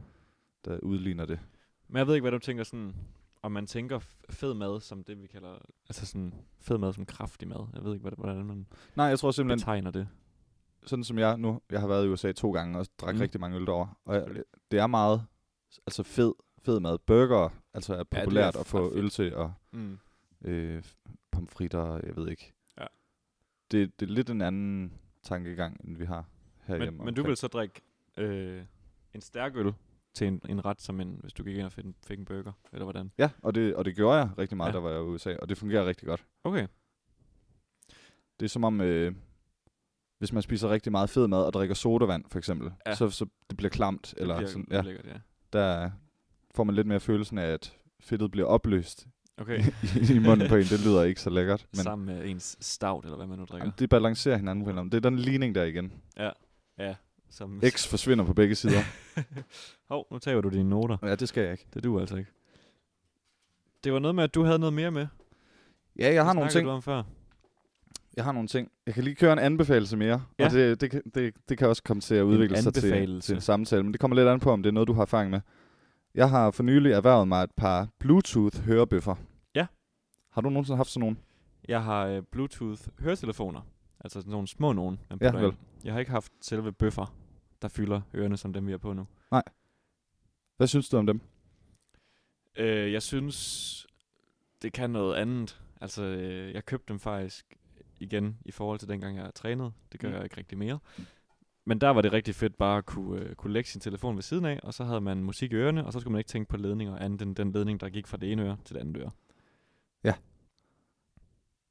der udligner det. Men jeg ved ikke, hvad du tænker sådan, om man tænker f- fed mad som det, vi kalder, altså sådan fed mad som kraftig mad. Jeg ved ikke, hvordan- hvordan man Nej, jeg tror simpelthen, betegner det. sådan som jeg nu, jeg har været i USA to gange og drak Mm. mm. rigtig mange øl derovre. Og jeg, Selvfølgelig. det er meget altså fed, fed mad. Burger altså er det er populært at ret få fedt. øl til, og Mm. øh, pomfritter, jeg ved ikke. Ja. Det, det er lidt en anden tankegang, end vi har herhjemme. Men, men du omkring. vil så drikke øh, en stærk øl til en, en ret, som en, hvis du gik ind og fik en, fik en burger, eller hvordan? Ja, og det, og det gjorde jeg rigtig Ja. meget, ja. der var jeg i USA, og det fungerer rigtig godt. Okay. Det er som om, øh, hvis man spiser rigtig meget fed mad og drikker sodavand, for eksempel, Ja. ja. så, så det bliver klamt, eller det bliver, sådan, ja. ja, lækkert, ja. der får man lidt mere følelsen af, at fedtet bliver opløst Okay. i munden på en. Det lyder ikke så lækkert. Men Sammen med ens stout, eller hvad man nu drikker. jamen, det balancerer hinanden på en eller anden. Det er den ligning der igen. Som X forsvinder på begge sider. Hov, nu tager du dine noter. ja, det skal jeg ikke. Det du altså ikke. Det var noget med, at du havde noget mere med. Ja, jeg har nogle ting. du om før. Jeg har nogle ting. Jeg kan lige køre en anbefaling mere, ja. Ja. og det, det, kan- det, det kan også komme til at udvikle sig til, anbefalelse. til en samtale, men det kommer lidt an på, om det er noget, du har erfaring med. Jeg har for nylig erhvervet mig et par Bluetooth-hørebøffer. Ja. Har du nogensinde haft sådan nogle? Jeg har øh, Bluetooth høretelefoner. Altså sådan nogle små nogen. Man Ja, putter ind. vel. Jeg har ikke haft selve bøffer, der fylder ørerne, som dem vi har på nu. Hvad synes du om dem? Øh, jeg synes, det kan noget andet. Altså, øh, jeg købte dem faktisk igen i forhold til dengang, jeg trænede. Det gør mm. Mm. jeg ikke rigtig mere. Men der var det rigtig fedt bare at kunne, øh, kunne lægge sin telefon ved siden af, og så havde man musik i ørerne, og så skulle man ikke tænke på ledninger andet end den ledning, der gik fra det ene øre til det andet øre.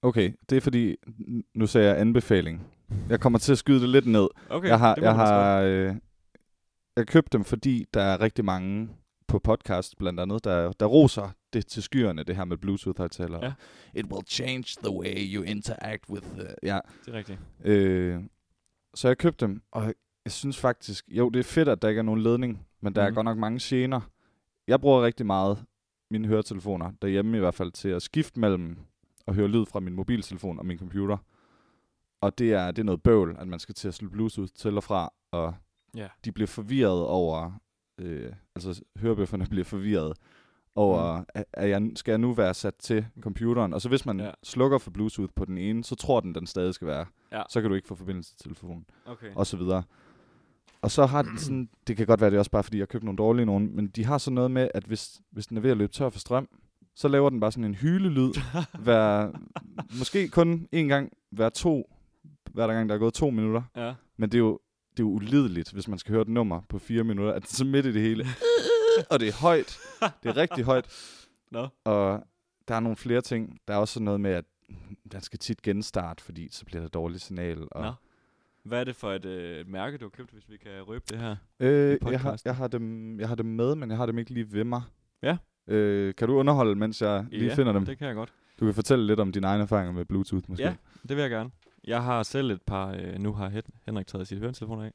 Okay, det er fordi, n- nu sagde jeg anbefaling. Jeg kommer til at skyde det lidt ned. Okay, Jeg har, det må jeg man så. har øh, jeg købte dem, fordi der er rigtig mange på podcast blandt andet, der, der roser det til skyerne, det her med Bluetooth-højtaler. Ja. It will change the way you interact with... The... Ja, Det er rigtigt. øh, så jeg købte dem, og Jeg synes faktisk, jo, det er fedt, at der ikke er nogen ledning, men der mm. er Mhm. godt nok mange gener. Jeg bruger rigtig meget mine høretelefoner, derhjemme i hvert fald, til at skifte mellem at høre lyd fra min mobiltelefon og min computer. Og det er, det er noget bøvl, at man skal til at slå bluetooth til og fra, og Ja. de bliver forvirret over, øh, altså hørebøfferne bliver forvirret over, mm. at, at jeg, skal jeg nu være sat til computeren? Og så hvis man Ja. ja. slukker for bluetooth på den ene, så tror den, den stadig skal være. Ja. Så kan du ikke få forbindelse til telefonen Okay. og så videre. Og så har den sådan, det kan godt være, det er også bare, fordi jeg købte nogle dårlige nogen, men de har sådan noget med, at hvis, hvis den er ved at løbe tør for strøm, så laver den bare sådan en hylelyd, hver, måske kun en gang hver to, hver gang der er gået to minutter. Ja. Men det er jo, det er jo ulideligt, hvis man skal høre et nummer på fire minutter, at den så midt i det hele, og det er højt, det er rigtig højt. Nå. Og der er nogle flere ting. Der er også sådan noget med, at den skal tit genstarte, fordi så bliver der dårligt signal. Og Nå. Hvad er det for et øh, mærke, du har købt, hvis vi kan røbe det her? Øh, jeg, har, podcasten. jeg, har dem, jeg har dem med, men jeg har dem ikke lige ved mig. Ja. Øh, kan du underholde, mens jeg lige Ja, finder dem? Det kan jeg godt. Du kan fortælle lidt om dine egne erfaringer med Bluetooth, måske. Ja, det vil jeg gerne. Jeg har selv et par, øh, nu har Hen- Henrik taget sit høretelefoner af.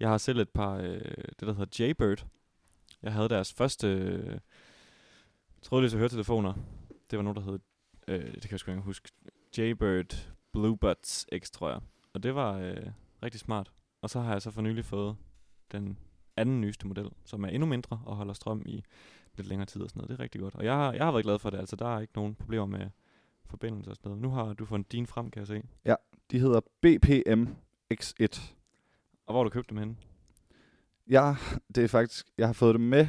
Jeg har selv et par, øh, det der hedder Jaybird. Jeg havde deres første øh, trådløse høretelefoner. Det var nogen, der hed, øh, det kan jeg sgu ikke huske, Jaybird Bluebuds X, tror jeg. Og det var øh, rigtig smart. Og så har jeg så for nylig fået den anden nyeste model, som er endnu mindre og holder strøm i lidt længere tid og sådan noget. Det er rigtig godt. Og jeg har, jeg har været glad for det, altså der er ikke nogen problemer med forbindelse og sådan noget. Nu har du fundet din frem, kan jeg se. De hedder BPM X1. Og hvor har du købt dem henne? Jeg, det er faktisk, jeg har fået dem med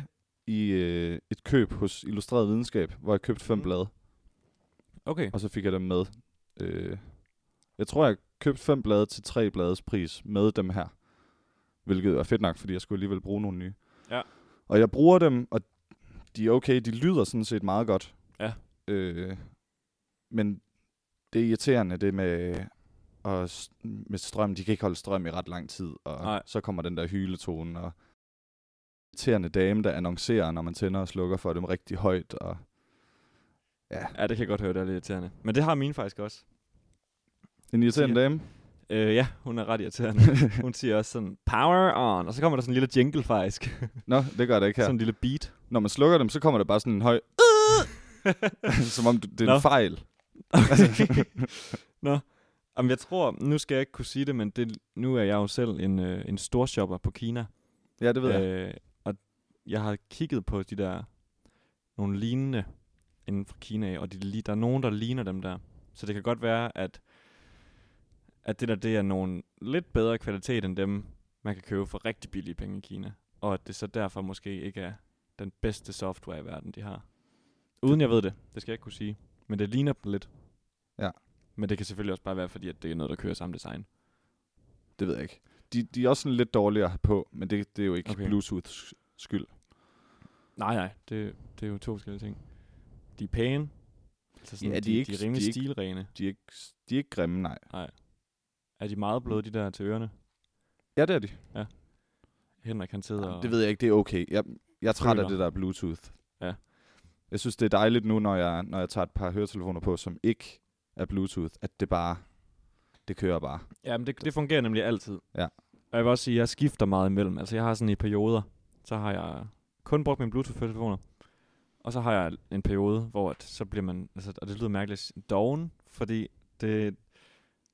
i øh, et køb hos Illustreret Videnskab, hvor jeg købte fem Mm. mm. blade, Okay. og så fik jeg dem med. Øh, jeg tror, jeg købte fem blade til tre blades pris med dem her. Hvilket er fedt nok, fordi jeg skulle alligevel bruge nogle nye. Ja. Og jeg bruger dem, og de er okay. De lyder sådan set meget godt. Ja. Øh, men det er irriterende, det med, og s- med strøm. De kan ikke holde strøm i ret lang tid. Og Nej. så kommer den der hyletone, og irriterende dame, der annoncerer, når man tænder og slukker for dem rigtig højt. Og ja, Ja, det kan jeg godt høre, det er lidt irriterende. Men det har mine faktisk også. en irriterende Siger- dame. Øh, ja, hun er ret irriterende. Hun siger også sådan, power on. Og så kommer der sådan en lille jingle faktisk. Nå, det gør det ikke Ja. her. Sådan en lille beat. Når man slukker dem, så kommer der bare sådan en høj... som om du- det er en Nå. fejl. Okay. Nå. Jamen, jeg tror, nu skal jeg ikke kunne sige det, men det, nu er jeg jo selv en, øh, en storshopper på Kina. Ja, det ved jeg. Øh, og jeg har kigget på de der, nogle lignende inden for Kina, af, og de, li- der er nogen, der ligner dem der. Så det kan godt være, at, at det der, det er nogle lidt bedre kvalitet end dem, man kan købe for rigtig billige penge i Kina. Og at det så derfor måske ikke er den bedste software i verden, de har. Uden jeg ved det, det skal jeg ikke kunne sige. Men det ligner dem lidt. Ja. Men det kan selvfølgelig også bare være, fordi at det er noget, der kører samme design. Det ved jeg ikke. De, de er også sådan lidt dårligere at have på, men det, det er jo ikke Okay. okay. Bluetooths skyld. Nej, nej, det, det er jo to forskellige ting. De er pæne. Altså Ja, de er ikke- de er rimelig de er ikke- stilrene. De er ikke, de er ikke grimme, nej. Er de meget Mm. bløde, de der til ørerne? Ja, det er de. Henrik, han sidder Jamen, det ved jeg ikke, det er okay. Jeg, jeg er træt af Føler. det der Bluetooth. Ja. Jeg synes, det er dejligt nu, når jeg, når jeg tager et par høretelefoner på, som ikke er Bluetooth, at det bare, det kører bare. Ja, men det, det fungerer nemlig altid. Ja. Og jeg vil også sige, at jeg skifter meget imellem. Altså, jeg har sådan i perioder, så har jeg kun brugt mine Bluetooth-telefoner. Og så har jeg en periode, hvor at, så bliver man, altså, og det lyder mærkeligt, doven, fordi det,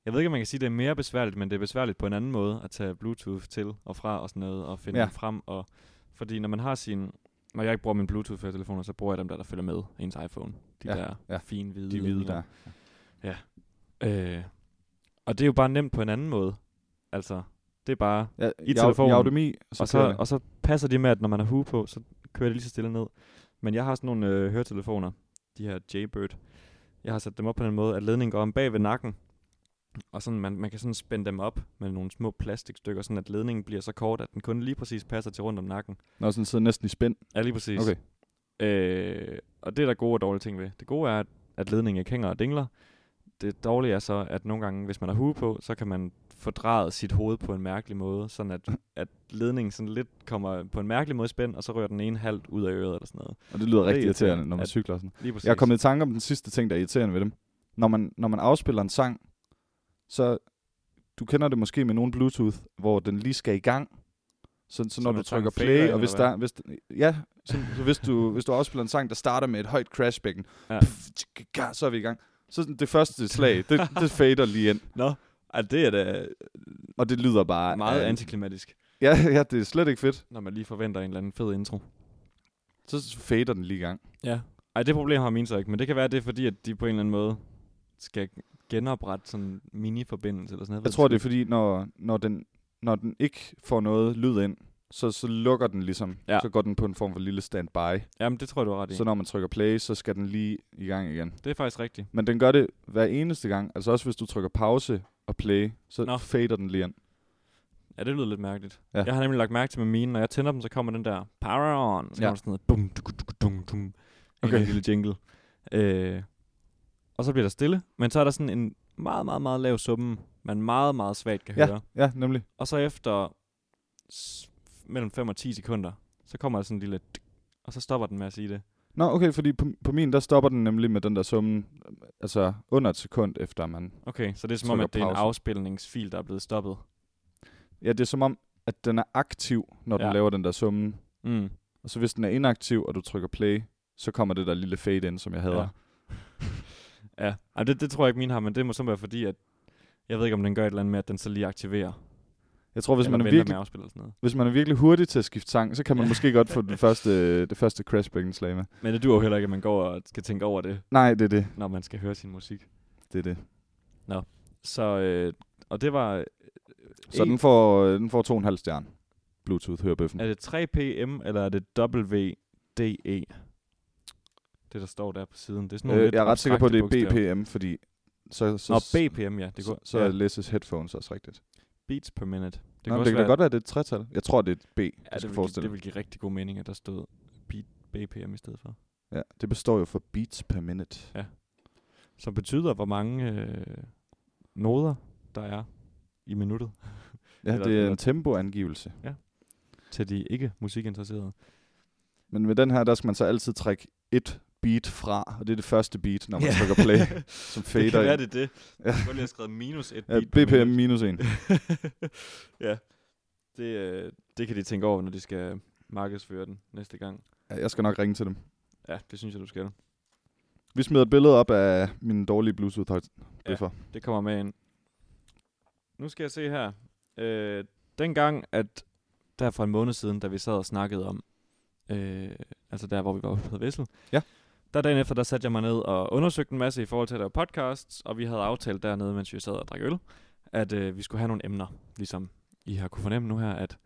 jeg ved ikke, om man kan sige, at det er mere besværligt, men det er besværligt på en anden måde at tage Bluetooth til og fra og sådan noget, og finde Ja. ja. frem. Og, fordi når man har sin, når jeg ikke bruger min Bluetooth-telefoner, så bruger jeg dem der, der følger med ens iPhone. De Ja, der ja. fine hvide. De hvide ledninger. der. Øh, og det er jo bare nemt på en anden måde. Altså, det er bare... Ja, I, i telefonen. automi, så, Og kører så, det. og så passer det med, at når man har hue på, så kører det lige så stille ned. Men jeg har sådan nogle øh, høretelefoner, de her Jaybird. Jeg har sat dem op på den måde, at ledningen går om bag ved nakken. Og sådan, man, man kan sådan spænde dem op med nogle små plastikstykker, sådan at ledningen bliver så kort, at den kun lige præcis passer til rundt om nakken. Nå, sådan sidder næsten i spænd. Ja, lige præcis. Okay. Øh, og det er der gode og dårlige ting ved. Det gode er, at, at ledningen ikke hænger og dingler. Det dårlige er så, at nogle gange, hvis man har hue på, så kan man fordreje sit hoved på en mærkelig måde, sådan at, at ledningen sådan lidt kommer på en mærkelig måde i spænd, og så rører den ene halvt ud af øret eller sådan noget. Og det lyder Det er rigtig irriterende, irriterende, når man at- cykler og sådan. Lige præcis. Jeg er kommet i tanke om den sidste ting, der er irriterende ved dem. Når man, når man afspiller en sang, så du kender det måske med nogle Bluetooth, hvor den lige skal i gang. Sådan, så, Så når man du trækker trykker fader play, ind, og hvis eller der, hvis, ja, så, så hvis, du, hvis du afspiller en sang, der starter med et højt crashbækken, Ja. ja. så er vi i gang. Så sådan det første slag, det, det fader lige ind, Nå, altså, det er da og det lyder bare... meget af- antiklimatisk, Ja, ja, det er slet ikke fedt. når man lige forventer en eller anden fed intro. Så fader den lige i gang. Ja. Ej, det problem har mine så ikke, men det kan være, det er fordi, at de på en eller anden måde skal genoprette sådan en mini-forbindelse eller sådan noget. Jeg tror, det er fordi, når, når, den, når den ikke får noget lyd ind, så, så lukker den ligesom. Ja. Ja. Så går den på en form for lille standby. Jamen, det tror jeg, du har ret i. Så når man trykker play, så skal den lige i gang igen. Det er faktisk rigtigt. Men den gør det hver eneste gang. Altså også hvis du trykker pause og play, så Nå. Nå. fader den lige ind. Ja, det lyder lidt mærkeligt. Ja. Ja. Jeg har nemlig lagt mærke til med mine, når jeg tænder dem, så kommer den der power on, så ja. kommer der Ja. sådan noget bum, duk, duk, dum, dum, en Okay. okay. lille jingle. Øh, og så bliver der stille, men så er der sådan en meget, meget, meget lav summen, man meget, meget svagt kan høre. Ja, nemlig. Og så efter s- mellem 5 og 10 sekunder, så kommer der sådan en lille dik, og så stopper den med at sige det. Nå, okay, fordi på, på min, der stopper den nemlig med den der summen, altså under et sekund efter man... Okay, så det er som om, Trykker at det er en pause. afspilningsfil, der er blevet stoppet. Ja, det er som om, at den er aktiv, når ja. Ja. den laver den der summen. Mm. Og så hvis den er inaktiv, og du trykker play, så kommer det der lille fade ind, som jeg hader. Ja. Ja, Ej, det, det tror jeg ikke, min har, men det må så være fordi, at jeg ved ikke, om den gør et eller andet med, at den så lige aktiverer. Jeg tror, hvis eller man, er venter virkelig, med at afspille eller sådan noget. hvis man er virkelig hurtig til at skifte sang, så kan man måske godt få det første, det første crash slag med. Men det duer jo heller ikke, at man går og skal tænke over det, Nej, det er det. når man skal høre sin musik. det, er det. Så, øh, og det var, Så En- den får, den får to og en halv stjerne. Bluetooth-hørebøffen. E- er det 3PM, eller er det WDE? Det, der står der på siden. Det er sådan nogle Øh, lidt jeg er ret sikker på, at det er abstrakte bogstaver. BPM, fordi så, så, Nå, BPM, ja. Det så, går, så ja. ja. læses headphones også rigtigt. beats per minute. Det, Nå, det kan da godt være, at det er et tretal. Jeg tror, det er et B, ja, ja, det, skal vil, give- forestille. det Det, vil give rigtig god mening, at der stod beat, BPM i stedet for. Ja, det består jo for beats per minute. Som betyder, hvor mange øh, noder, der er i minuttet Ja, Eller- det er eller- en tempoangivelse. til de ikke musikinteresserede. Men med den her, der skal man så altid trække et beat fra, og det er det første beat, når man trykker play, som fader det kan være, ind. det er det. Ja. Jeg skulle lige have skrevet minus et Ja, beat per BPM minut. minus en. ja, det, øh, det kan de tænke over, når de skal markedsføre den næste gang. Ja, jeg skal nok ringe til dem. Ja, det synes jeg, du skal. Vi smider et billede op af min dårlige bluetooth højtbøffer. Det kommer med ind. Nu skal jeg se her. Øh, dengang, at der for en måned siden, da vi sad og snakkede om, øh, altså der, hvor vi var ude på Vessel, Ja. der dagen efter, der satte jeg mig ned og undersøgte en masse i forhold til at lave podcasts, og vi havde aftalt dernede, mens vi sad og drak øl, at øh, vi skulle have nogle emner, ligesom I har kunne fornemme nu her, at,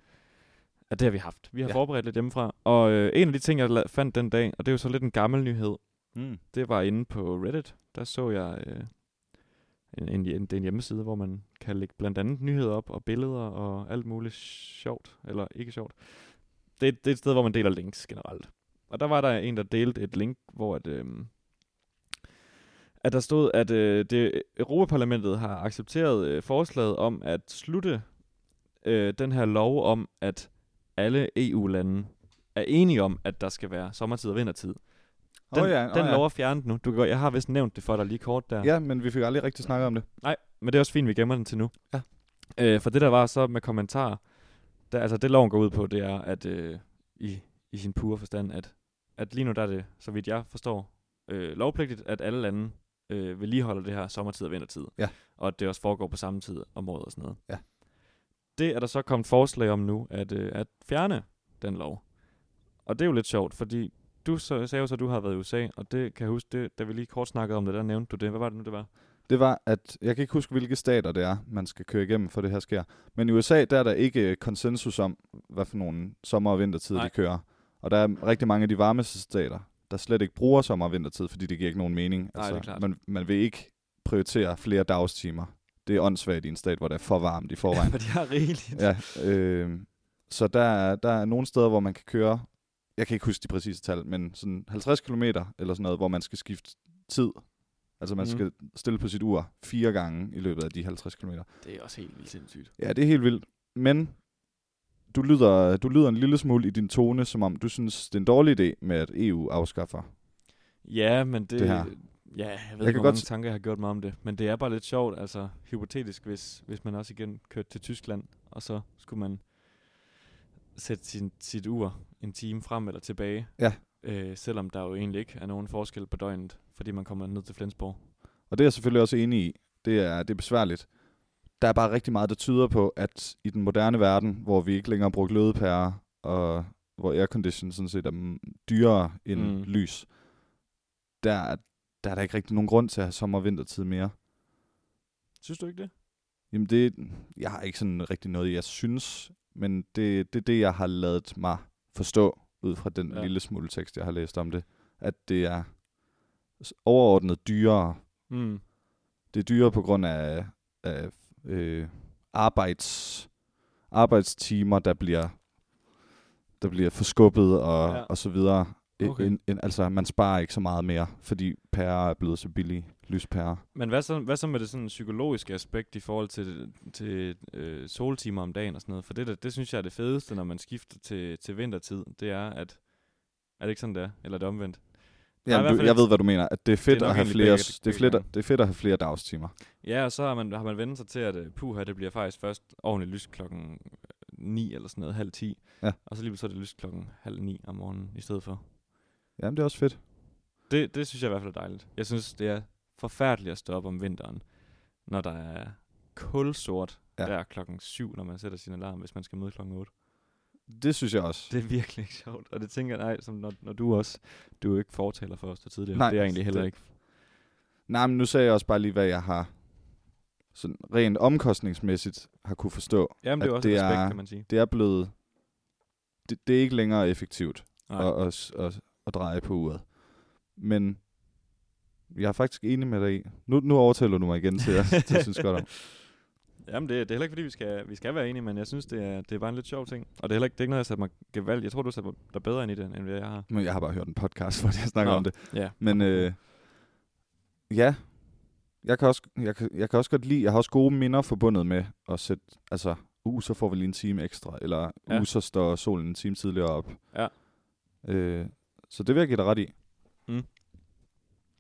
at det har vi haft. Vi har ja. Ja. forberedt lidt hjemmefra, og øh, en af de ting, jeg la- fandt den dag, og det er jo så lidt en gammel nyhed, Ja. Mm. det var inde på Reddit. Der så jeg øh, en, en, en, det er en hjemmeside, hvor man kan lægge blandt andet nyheder op og billeder og alt muligt sjovt, eller ikke sjovt. Det, det er et sted, hvor man deler links generelt. Og der var der en, der delte et link, hvor at, øh, at der stod, at øh, det, Europaparlamentet har accepteret øh, forslaget om at slutte øh, den her lov om, at alle EU-lande er enige om, at der skal være sommertid og vintertid. Den, oh, ja, den oh, lover at fjerne den nu. Du kan, godt- jeg har vist nævnt det for dig lige kort der. ja. ja, men vi fik aldrig rigtig snakket om det. Men det er også fint, vi gemmer den til nu. Ja. Øh, for det der var så med kommentarer, der, altså det loven går ud på, det er, at øh, i, i sin pure forstand, at, at lige nu der er det, så vidt jeg forstår, øh, lovpligtigt, at alle lande øh, vedligeholder det her sommertid og vintertid. Ja. Og at det også foregår på samme tid om året og sådan noget. Ja. Det er der så kommet forslag om nu, at, øh, at fjerne den lov. Og det er jo lidt sjovt, fordi du så, sagde jo så, at du har været i USA, og det kan jeg huske, det, da vi lige kort snakkede om det, der nævnte du det. Hvad var det nu, det var? Det var, at jeg kan ikke huske, hvilke stater det er, man skal køre igennem, for det her sker. Men i USA, der er der ikke øh, konsensus om, hvad for nogle sommer- og vintertid, Nej. de kører. Og der er rigtig mange af de varmeste stater, der slet ikke bruger sommer- og vintertid, fordi det giver ikke nogen mening. Altså, Nej, det er klart. man, man vil ikke prioritere flere dagstimer. Det er åndssvagt i en stat, hvor det er for varmt i forvejen. For de har rigeligt. ja, øh, så der er, der er nogle steder, hvor man kan køre, jeg kan ikke huske de præcise tal, men sådan 50 km eller sådan noget, hvor man skal skifte tid. Altså man Mhm. mm. skal stille på sit ur fire gange i løbet af de 50 km. Det er også helt vildt sindssygt. Ja, det er helt vildt. Men du lyder, du lyder en lille smule i din tone, som om du synes, det er en dårlig idé med, at EU E afskaffer. Ja, men det, Det her. Ja, jeg ved jeg kan ikke, hvor godt mange s- tanker, jeg har gjort mig om det. Men det er bare lidt sjovt, altså hypotetisk, hvis, hvis man også igen kørte til Tyskland, og så skulle man sætte sin, sit ur en time frem eller tilbage. Ja. Øh, selvom der jo egentlig ikke er nogen forskel på døgnet, fordi man kommer ned til Flensborg. Og det er jeg selvfølgelig også enig i. Det er, det er besværligt. Der er bare rigtig meget, der tyder på, at i den moderne verden, hvor vi ikke længere bruger glødepærer, og hvor aircondition sådan set er mm, dyrere end Mm. mm. lys, der, er- der er der ikke rigtig nogen grund til at have sommer- og vintertid mere. Synes du ikke det? Jamen det, jeg har ikke sådan rigtig noget, jeg synes, men det, det er det, jeg har lavet mig forstå ud fra den Ja. ja. lille smule tekst, jeg har læst om det, at det er s- overordnet dyrere Mm. det er dyrere på grund af, af øh, arbejds, arbejdstimer, der bliver, der bliver forskubbet og, Ja. ja. og så videre. Okay. Okay. En, en, altså, man sparer ikke så meget mere, fordi pærer er blevet så billige, lyspærer. Men hvad så, hvad så med det sådan psykologiske aspekt i forhold til, til øh, soltimer om dagen og sådan noget? For det, det, det synes jeg er det fedeste, når man skifter til, til vintertid. Det er, at... Er det ikke sådan, det er? Eller er det omvendt? i hvert Jamen, du, fald jeg ikke- ved, hvad du mener. At det er fedt Det er nok at have egentlig flere, begge- s- det er begge fedt, at, gange. det er fedt at have flere dagstimer. Ja, og så har man, har man vendt sig til, at øh, puha, det bliver faktisk først ordentligt lyst klokken 9 eller sådan noget, halv 10. Ja. Og så lige så er det lyst klokken halv 9 om morgenen i stedet for. Jamen, det er også fedt. Det, det synes jeg i hvert fald er dejligt. Jeg synes, det er forfærdeligt at stå op om vinteren, når der er kulsort ja. Ja. der klokken 7, når man sætter sin alarm, hvis man skal møde klokken 8. Det synes jeg også. Det er virkelig ikke sjovt, og det tænker jeg, nej, som når, når du også, du er jo ikke fortaler for os så tidligere. Nej, det er jeg egentlig heller det- ikke. Nej, men nu sagde jeg også bare lige, hvad jeg har sådan rent omkostningsmæssigt har kunne forstå. Jamen, det er at jo også det et aspekt, er- kan man sige. Det er blevet... Det, det er ikke længere effektivt. Nej. og, og, s- og, og dreje på uret. Men jeg er faktisk enig med dig i. Nu, nu overtaler du mig igen til, at til at synes godt om. Jamen, det, det er heller ikke, fordi vi skal, vi skal være enige, men jeg synes, det er, det er bare en lidt sjov ting. Og det er heller ikke, det er ikke noget, jeg satte mig gevaldigt. Jeg tror, du satte dig bedre ind i det, end hvad jeg har. Men jeg har bare hørt en podcast, hvor jeg snakker Nå. om det. Ja. Men øh, ja, jeg kan, også, jeg, kan, jeg kan også godt lide, jeg har også gode minder forbundet med at sætte, altså, uh, så får vi lige en time ekstra, eller Ja. ja. uh, så står solen en time tidligere op. Ja. Øh, så det vil jeg give dig ret i.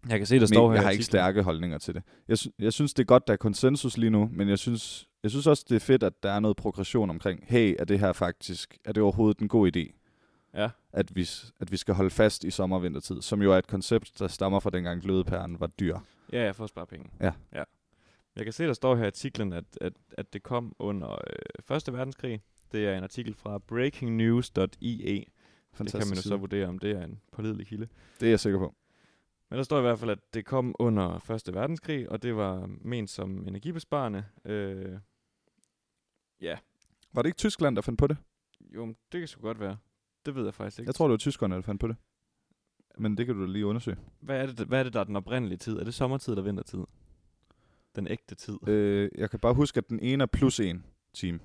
Jeg kan se, der Men står her. jeg har ikke stærke holdninger til det. Jeg, sy- jeg synes, det er godt, der er konsensus lige nu, men jeg synes, jeg synes også, det er fedt, at der er noget progression omkring, hey, er det her faktisk, er det overhovedet en god idé, Ja. at vi, s- at vi skal holde fast i sommer- og vintertid, som jo er et koncept, der stammer fra dengang glødepæren var dyr. Ja, jeg får spare penge. Ja. ja. Jeg kan se, der står her i artiklen, at, at, at det kom under øh, Første Verdenskrig. Det er en artikel fra breakingnews.ie. Det kan man jo så side. vurdere, om det er en pålidelig kilde. det er jeg sikker på. Men der står i hvert fald, at det kom under Første Verdenskrig, og det var ment som energibesparende. Øh, Var det ikke Tyskland, der fandt på det? jo, men det kan sgu godt være. Det ved jeg faktisk ikke. Jeg tror, det var tyskerne, der fandt på det. Men det kan du lige undersøge. Hvad er, det, hvad er det, der er den oprindelige tid? Er det sommertid eller vintertid? Den ægte tid. Øh, jeg kan bare huske, at den ene er plus en time.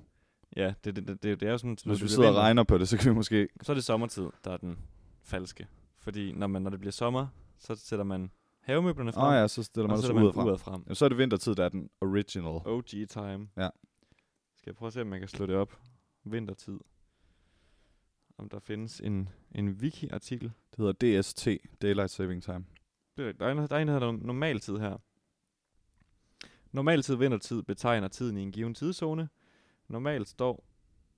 Ja, det, det, det, det, det er jo sådan... når Hvis vi det sidder og bliver regner på det, så kan vi måske... vinter, Så er det sommertid, der er den falske. Fordi når, man, når det bliver sommer, så sætter man havemøblerne Åh frem, oh, ja, så stiller man og så også sætter man ud fra. uret frem. Jamen, så er det vintertid, der er den original. OG time. Ja. Skal jeg prøve at se, om jeg kan slå det op? Vintertid. Om der findes en, en wiki-artikel. Det hedder DST, Daylight Saving Time. Det er rigtigt. Der er en, der er en, der hedder normaltid her. Normaltid vintertid betegner tiden i en given tidszone. Normalt står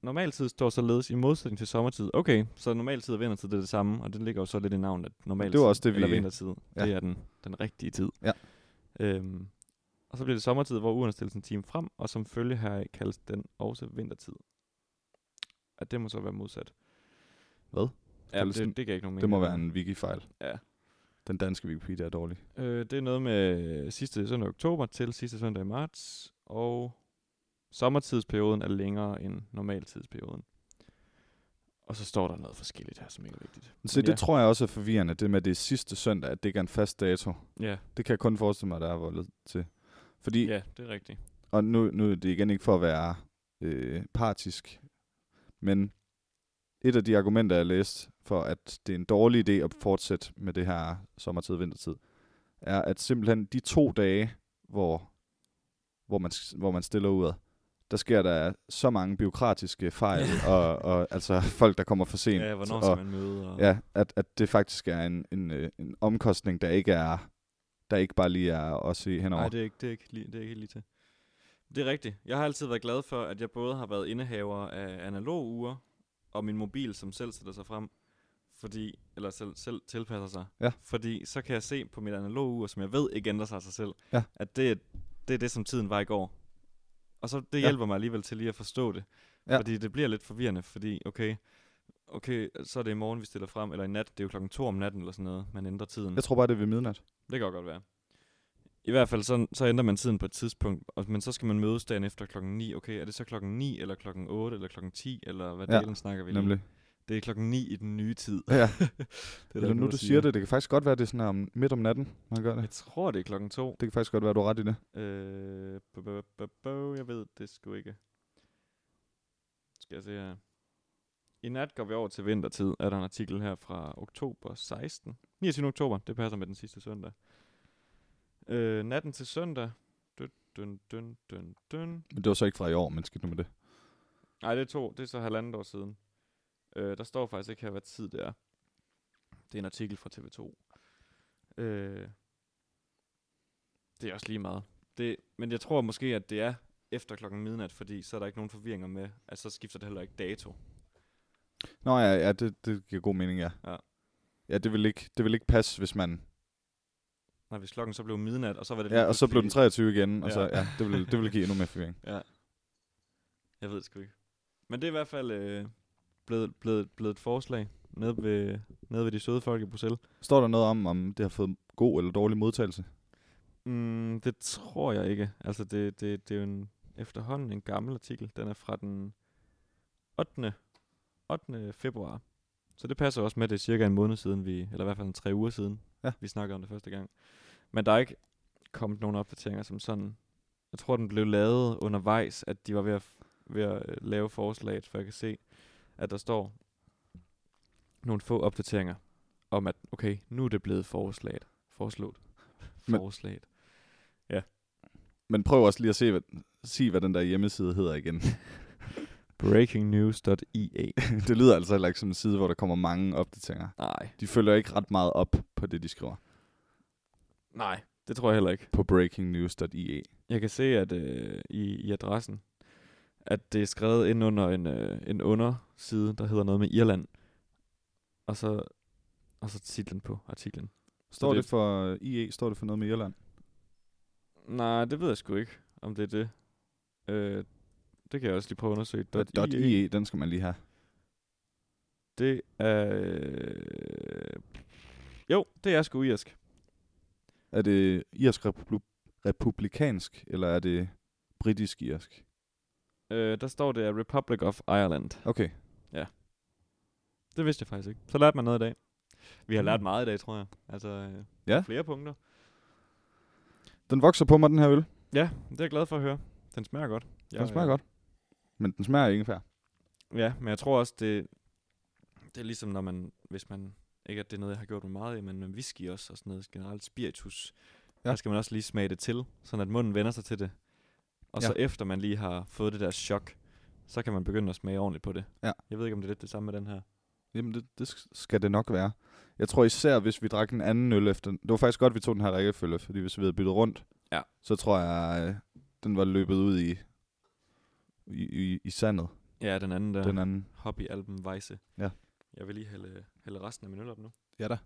Normaltid står således i modsætning til sommertid. Okay, så normaltid og vintertid det er det samme, og den ligger jo så lidt i navnet, at normaltid Det var også det, eller vi- vintertid, ja. ja. det er den, den rigtige tid. Ja. Øhm, og så bliver det sommertid, hvor uren stilles en time frem, og som følge heraf kaldes den også vintertid. At det må så være modsat. Hvad? Ja, det, Kaldes den- det, giver ikke nogen mening. Det må være en wiki-fejl. Ja. Den danske Wikipedia er dårlig. Øh, det er noget med øh, sidste søndag i oktober til sidste søndag i marts, og sommertidsperioden er længere end normaltidsperioden. Og så står der noget forskelligt her, som ikke er vigtigt. Så Men det tror jeg også er forvirrende, det med at det er sidste søndag, at det ikke er en fast dato. ja, ja, Det kan jeg kun forestille mig, der er voldet til. Fordi, ja, det er rigtigt. og nu, nu er det igen ikke for at være øh, partisk, men et af de argumenter, jeg læste for, at det er en dårlig idé at fortsætte med det her sommertid og vintertid, er, at simpelthen de to dage, hvor, hvor, man, s- hvor man stiller ud, der sker der så mange byråkratiske fejl, og, og altså folk, der kommer for sent. Ja, hvornår og, skal man møde? Og... Ja, at, at det faktisk er en, en, øh, en omkostning, der ikke er der ikke bare lige er os i henover. Nej, det er ikke, det er ikke, lige, det er ikke lige til. Det er rigtigt. Jeg har altid været glad for, at jeg både har været indehaver af analog ure og min mobil, som selv sætter sig frem, fordi, eller selv, selv tilpasser sig. Ja. Fordi så kan jeg se på mit analog ur, som jeg ved ikke ændrer sig af sig selv, Ja. at det, er- det er det, som tiden var i går. Og så det hjælper mig alligevel til lige at forstå det. Ja. Fordi det bliver lidt forvirrende, fordi okay, okay, så er det i morgen, vi stiller frem, eller i nat, det er jo klokken to om natten eller sådan noget, man ændrer tiden. Jeg tror bare, det er ved midnat. Det kan jo godt være. I hvert fald, så, så ændrer man tiden på et tidspunkt, og, men så skal man mødes dagen efter klokken 9. Okay, er det så klokken 9, eller klokken 8, eller klokken 10, eller hvad Ja, ja, delen snakker vi lige? Nemlig. Det er klokken 9 i den nye tid. Ja. der Eller ikke nu nogen, du der siger det, det kan faktisk godt være, det er sådan her om, midt om natten, man gør det. Jeg tror, det er klokken 2. Det kan faktisk godt være, du har ret i det. Øh, bu- bu- bu- bu- bu- jeg ved det sgu ikke. Skal jeg se her. I nat går vi over til vintertid, er der en artikel her fra oktober 16. 29. oktober, det passer med den sidste søndag. Øh, natten til søndag. Dun, dun, dun, dun, dun. Men det var så ikke fra i år, men skidt nu med det. Nej, det er to. Det er så halvandet år siden. Øh, der står faktisk ikke her, hvad tid det er. Det er en artikel fra TV2. Øh, det er også lige meget. Det, men jeg tror måske, at det er efter klokken midnat, fordi så er der ikke nogen forvirringer med, at så skifter det heller ikke dato. Nå ja, ja det, det giver god mening, ja. Ja. Ja, det vil ikke, det vil ikke passe, hvis man... Nej, hvis klokken så blev midnat, og så var det... Ja, lige og så blev den pludselig- 23 igen, og Ja. så, ja, det vil, det vil give endnu mere forvirring. Jeg ved det sgu ikke. Men det er i hvert fald øh, blevet, blevet, blevet et forslag nede ved, nede ved de søde folk i Bruxelles. Står der noget om, om det har fået god eller dårlig modtagelse? Mm, det tror jeg ikke. Altså, det, det, det er jo en, efterhånden en gammel artikel. Den er fra den 8. 8. februar. Så det passer også med, at det er cirka en måned siden, vi, eller i hvert fald en tre uger siden, Ja. vi snakkede om det første gang. Men der er ikke kommet nogen opdateringer som sådan. Jeg tror, den blev lavet undervejs, at de var ved at, f- ved at øh, lave forslaget, for jeg kan se, at der står nogle få opdateringer om, at okay, nu er det blevet foreslaget. Foreslået. Men- Forslaget. Men prøv også lige at se, hvad, sige, hvad den der hjemmeside hedder igen. Breakingnews.ea. det lyder altså heller ikke som en side, hvor der kommer mange opdateringer. Nej. De følger ikke ret meget op på det, de skriver Nej, det tror jeg heller ikke. på E breakingnews.ie. Jeg kan se, at øh, i, i adressen, at det er skrevet ind under en, øh, en underside, der hedder noget med Irland. Og så, og så titlen på artiklen. Står det- det for IE? Står det for noget med Irland? Nej, det ved jeg sgu ikke, om det er det. Øh, det kan jeg også lige prøve at undersøge. E Dot E .ie, den skal man lige have. Det er... Øh, jo, det er sgu irsk. Er det irsk republi- republikansk, eller er det britisk irsk? Øh, der står det er Republic of Ireland. Okay. Det vidste jeg faktisk ikke. Så lærte man noget i dag. Vi har lært Mm. meget i dag, tror jeg. Altså, øh, Ja. ja. flere punkter. Den vokser på mig, den her øl. Ja, det er jeg glad for at høre. Den smager godt. Den smager godt. Men den smager ikke færd. Ja, men jeg tror også, det, det er ligesom, når man, hvis man, ikke at det er noget, jeg har gjort med meget, i, men med whisky også, og sådan noget generelt spiritus, Ja. ja. der skal man også lige smage det til, sådan at munden vender sig til det. Og Ja. ja. så efter man lige har fået det der chok, så kan man begynde at smage ordentligt på det. Ja. Jeg ved ikke, om det er lidt det samme med den her. Jamen, det, det sk- skal det nok være. Jeg tror især, hvis vi drak en anden øl efter... Det var faktisk godt, vi tog den her rækkefølge, fordi hvis vi havde byttet rundt, Ja. så tror jeg, øh, den var løbet ud i, i, i, i sandet, Ja, den anden der. ja. den anden. Hobbyalbum Weisse. Ja. Jeg vil lige hælde, hælde resten af min øl op nu. Ja da.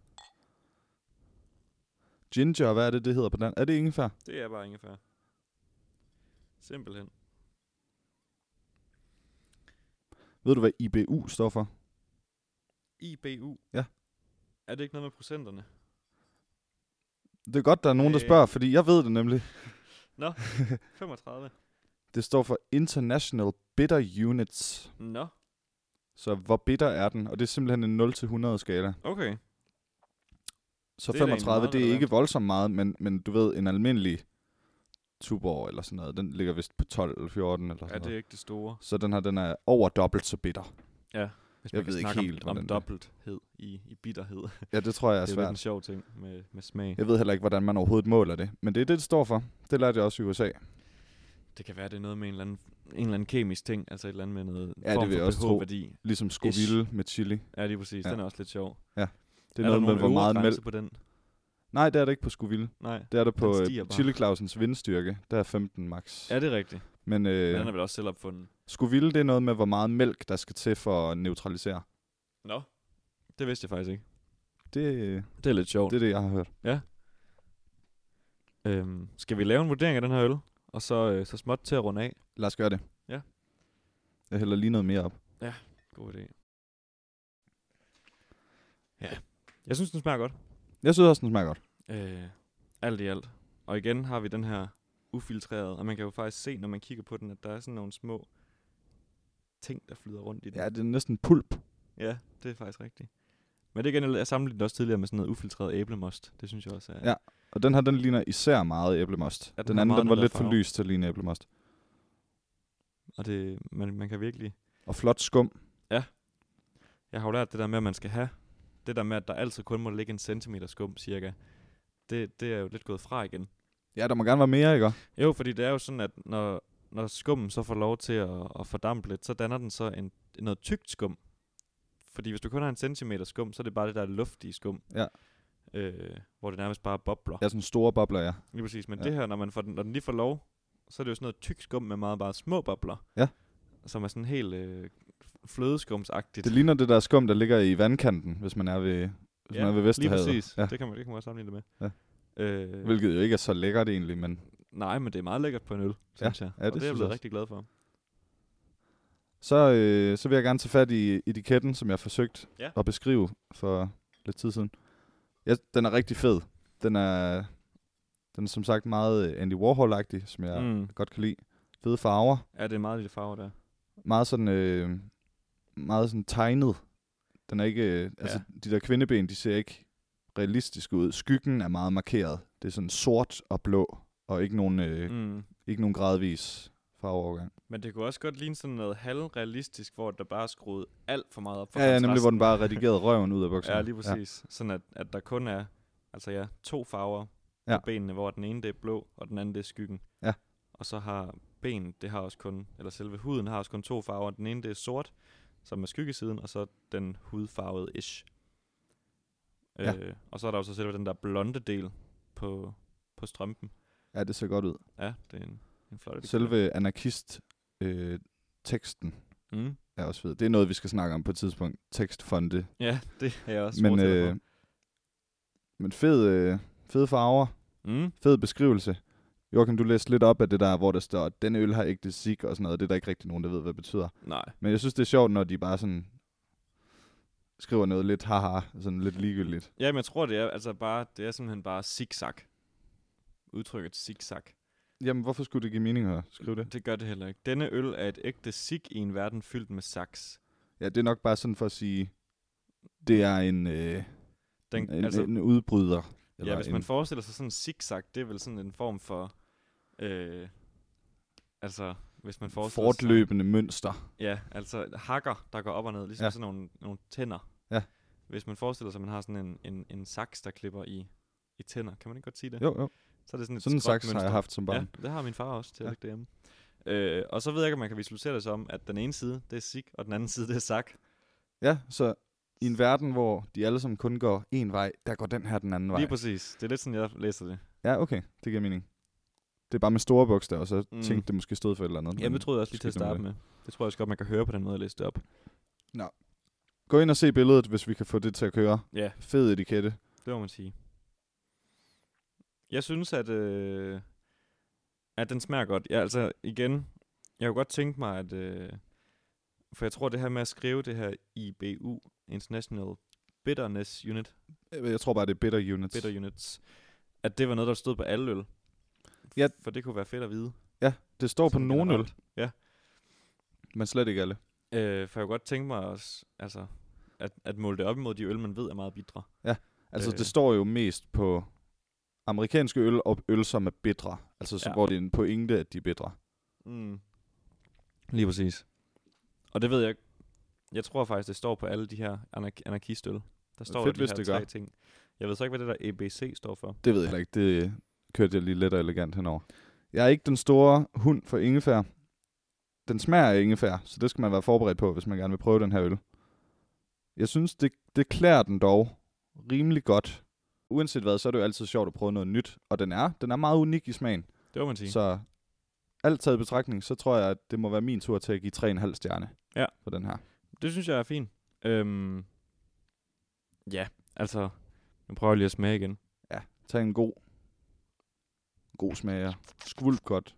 Ginger, hvad er det, det hedder på den? Er det ingefær? Det er bare ingefær. Simpelthen. Ved du, hvad IBU står for? IBU. Ja. Er det ikke noget med procenterne? Det er godt, der er nogen, der Øh. spørger, fordi jeg ved det nemlig. Nå, 35. Det står for International Bitter Units. Nå, Så hvor bitter er den? Og det er simpelthen en 0-100 skala. okay. Så Det er da egentlig 35, meget det er ikke relevant. voldsomt meget, men, men du ved, en almindelig Tuborg eller sådan noget, den ligger vist på 12 eller 14 eller Ja, sådan det er noget. ikke det store. Så den her, den er over dobbelt så bitter. Hvis Jeg man kan ved ikke snakke om, helt, hvordan om det er. dobbelthed i, i bitterhed. Det Ja, det tror jeg er er, det er jo lidt en svært. sjov ting med, med smag. Jeg ved heller ikke, hvordan man overhovedet måler det, men det er det, det står for. Det lærte jeg også i USA. Det kan være, det er noget med en eller anden, en eller anden kemisk ting, altså et eller andet med noget det form vil jeg for også tro. pH-værdi. Ligesom Scoville med chili. Ja, lige præcis. Ja. Ja. Den er også lidt sjov. Det er, er noget med, hvor meget mælk. på den? Nej, det er det ikke på Scoville. Nej. Det er der på stiger øh, bare. Chile Clausens vindstyrke. Der er 15 max. Ja, det er rigtigt. Men Øh. Den er øh, vel også selv opfundet. Scoville, det er noget med, hvor meget mælk, der skal til for at neutralisere. Nå. Det vidste jeg faktisk ikke. Det, øh, Det er lidt sjovt. det er det, jeg har hørt. Øhm, skal vi lave en vurdering af den her øl? Og så, øh, så småt til at runde af. Lad os gøre det. Ja. Jeg hælder lige noget mere op. God idé. Ja. Jeg synes, den smager godt. Jeg synes også, den smager godt. Øh, alt i alt. Og igen har vi den her ufiltrerede, og man kan jo faktisk se, når man kigger på den, at der er sådan nogle små ting, der flyder rundt i den. Ja, det er næsten pulp. ja det er faktisk rigtigt. Men det igen, jeg sammenlignede den også tidligere med sådan noget ufiltreret æblemost. Det synes jeg også er... Ja. Og den her, den ligner især meget æblemost. Ja, Ja, den den, den har anden, meget den var den der lidt for farve. lys til at ligne æblemost. Og det, man, man kan virkelig... Og flot skum. Jeg har jo lært det der med, at man skal have... Det der med, at der altid kun må ligge en centimeter skum, cirka. Det, det er jo lidt gået fra igen. Ja, der må gerne være mere, ikke? Jo, fordi det er jo sådan, at når, når skummen så får lov til at, at fordampe lidt, så danner den så en, noget tykt skum. Fordi hvis du kun har en centimeter skum, så er det bare det der luftige skum. Ja. Øh, hvor det nærmest bare bobler. Ja, sådan store bobler, ja. Lige præcis. Men ja. Ja. det her, når, man får den, når den lige får lov, så er det jo sådan noget tyk skum med meget bare små bobler. Ja. Som er sådan helt øh, flødeskumsagtigt. Det ligner det der skum, der ligger i vandkanten, hvis man er ved, hvis man er ved lige Vesterhavet. præcis. Ja. Ja. Det, kan man, det kan man også sammenligne det med. Ja. Øh, Hvilket jo ikke er så lækkert egentlig, men Nej, men det er meget lækkert på en øl, synes jeg. og ja, det det er jeg synes jeg blevet også. rigtig glad for. så, øh, så vil jeg gerne tage fat i etiketten, som jeg forsøgte Ja. ja. at beskrive for lidt tid siden. Ja, den er rigtig fed. Den er, den er som sagt meget øh, Andy Warhol-agtig, som jeg mm. Mm. godt kan lide. Fede farver. Ja, det er meget lille farve der. meget sådan øh, meget sådan tegnet. Den er ikke øh, altså de der kvindeben, de ser ikke realistiske ud. Skyggen er meget markeret. Det er sådan sort og blå og ikke nogen øh, mm. Mm. ikke nogen gradvis farveovergang. Men det kunne også godt ligne sådan noget halvrealistisk, hvor der bare er skruet alt for meget op for Ja, ja, nemlig hvor kontrasten. den bare redigerede røven ud af bukserne. Ja, lige præcis. Ja. Sådan at, at der kun er altså ja, to farver ja. Ja. på benene, hvor den ene det er blå, og den anden det er skyggen. Ja. Og så har ben, det har også kun, eller selve huden har også kun to farver. Den ene det er sort, som er skyggesiden, og så den hudfarvede ish. Ja. Øh, og så er der jo så selve den der blonde del på, på strømpen. Ja. ja, det ser godt ud. Ja, det er en, en flot etikette. Selve anarkist øh, teksten Mm. er også fed. Det er noget vi skal snakke om på et tidspunkt. Tekstfonde. Ja, det har jeg også Men fortalt dig øh, men fed øh, fede farver. på. mm. fed beskrivelse. Joachim, du læste lidt op af det der, hvor der står, at denne øl har ægte sik og sådan noget. Det er der ikke rigtig nogen, der ved, hvad det betyder. Nej, Men jeg synes, det er sjovt, når de bare sådan skriver noget lidt haha, sådan lidt ligegyldigt. Jamen, jeg tror, det er, altså bare, det er simpelthen bare zigzag. Udtrykket zigzag. Jamen, hvorfor skulle det give mening at skrive det? Det gør det heller ikke. Denne øl er et ægte zig i en verden fyldt med saks. Ja, det er nok bare sådan for at sige, det er en, øh, Den, en, altså, altså, en udbryder. ja, hvis en, man forestiller sig sådan en zigzag, det er vel sådan en form for... Øh, altså, hvis man forestiller fortløbende mønster. sig... Ja, altså hakker, der går op og ned, ligesom ja. Ja. sådan nogle, nogle tænder. Ja. Hvis man forestiller sig, at man har sådan en, en, en saks, der klipper i, i tænder. Kan man ikke godt sige det? Jo, jo. Så er det sådan et Sådan en saks har skråtmønster. jeg haft som barn. Ja, det har min far også til at Ja. lægge derhjemme. Øh, og så ved jeg ikke, om man kan visualisere det som, at den ene side, det er sik, og den anden side, det er sak. Ja. ja, så i en verden, hvor de alle sammen kun går en vej, der går den her den anden vej. Lige præcis. Det er lidt sådan, jeg læser det. Ja, okay. Det giver mening. Det er bare med store bogstaver, så Mm. mm. tænkte det måske stod for et eller andet. Jamen, men det troede jeg også lige til at skidt nu med starte med. Det tror jeg også godt, man kan høre på den måde, jeg læste det op. Gå ind og se billedet, hvis vi kan få det til at køre. Ja, Fed etikette. det må man sige. Jeg synes, at, øh, at den smager godt. Ja, altså, igen, jeg kunne godt tænke mig, at... Øh, for jeg tror, det her med at skrive det her IBU, International Bitterness Unit, Øh, Jeg tror bare, det er bitter units. bitter units, at det var noget, der stod på alle øl. Ja. For det kunne være fedt at vide. Det står på sådan nogen øl, generelt. men slet ikke alle. Øh, for jeg kunne godt tænke mig også, altså, at, at måle det op imod de øl, man ved er meget bitre. Altså, Øh. øh. det står jo mest på amerikanske øl og øl, som er bitre. Altså, så Ja. ja. hvor det er en pointe, at de er bitre. Mm. Lige præcis. Og det ved jeg Jeg tror faktisk, det står på alle de her anark- anarkistøl. Der står fedt, der de hvis her det tre gør. ting. Jeg ved så ikke, hvad det der EBC står for. Det ved jeg heller ikke. Det øh, kørte jeg lige let og elegant henover. Jeg er ikke den store hund for ingefær. Den smager af ingefær, så det skal man være forberedt på, hvis man gerne vil prøve den her øl. Jeg synes, det, det klæder den dog rimelig godt. uanset hvad, så er det jo altid sjovt at prøve noget nyt. Og den er, den er meget unik i smagen. Det må man sige. Så. Så alt taget i betragtning, så tror jeg, at det må være min tur til at give 3,5 stjerne Ja. på den her. Det synes jeg er fint. Øhm, ja, altså, nu prøver jeg lige at smage igen. Tag en god, god smag og skvulp godt.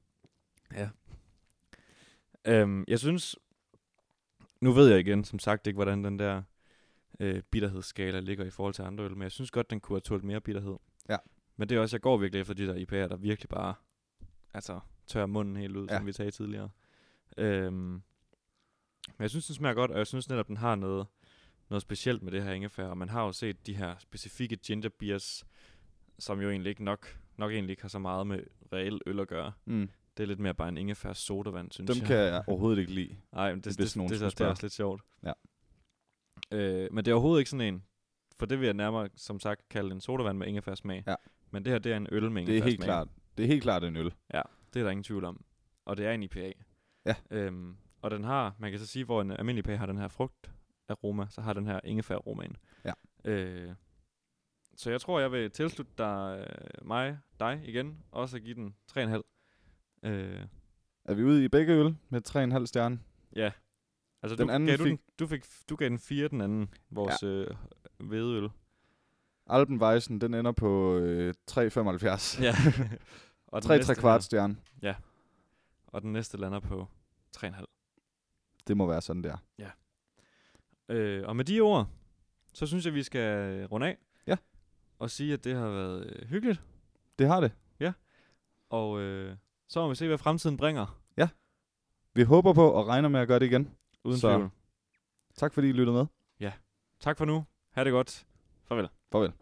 Øhm, jeg synes, nu ved jeg igen, som sagt, ikke, hvordan den der øh, bitterhedsskala ligger i forhold til andre øl, men jeg synes godt, den kunne have tålt mere bitterhed. Ja. Men det er også, jeg går virkelig efter de der IPA'er, der virkelig bare altså, tør munden helt ud, ja. Ja. som vi sagde tidligere. Øhm, men jeg synes, den smager godt, og jeg synes netop, den har noget, noget specielt med det her ingefær, og man har jo set de her specifikke ginger beers, som jo egentlig ikke nok, nok egentlig ikke har så meget med reelt øl at gøre. Mm. Det er lidt mere bare en ingefær sodavand, synes Dem jeg. kan jeg overhovedet ikke lide. Nej, men det, det, Hvis det, nogen det, skulle det er spørge. også lidt sjovt. Ja. Øh, men det er overhovedet ikke sådan en, for det vil jeg nærmere, som sagt, kalde en sodavand med ingefærsmag. Ja. Men det her, det er en øl med Det er helt ingefærsmag. klart, det er helt klart en øl. Det er der ingen tvivl om. Og det er en IPA. Ja. Øhm, og den har, man kan så sige, hvor en almindelig IPA har den her frugtaroma, så har den her ingefæraromaen. Ja. Øh, så jeg tror, jeg vil tilslutte dig, øh, mig, dig igen, også at give den 3,5. Øh, Er vi ude i begge øl med 3,5 stjerne? Altså, Den du, anden gav du, fik- den, du, fik, du gav den 4, den anden, vores ja. øh, hvedeøl. Alpenweisen, den ender på øh, 3,75. Ja. og den 3 næste 3 kvart stjerne. Her, og den næste lander på 3,5. Det må være sådan der. Øh, og med de ord, så synes jeg, vi skal øh, runde af. Ja. Og sige, at det har været øh, hyggeligt. Det har det. Og øh, så må vi se, hvad fremtiden bringer. Vi håber på og regner med at gøre det igen. Uden så. Så- tvivl. Tak fordi I lyttede med. Tak for nu. Ha' det godt. Farvel. Farvel.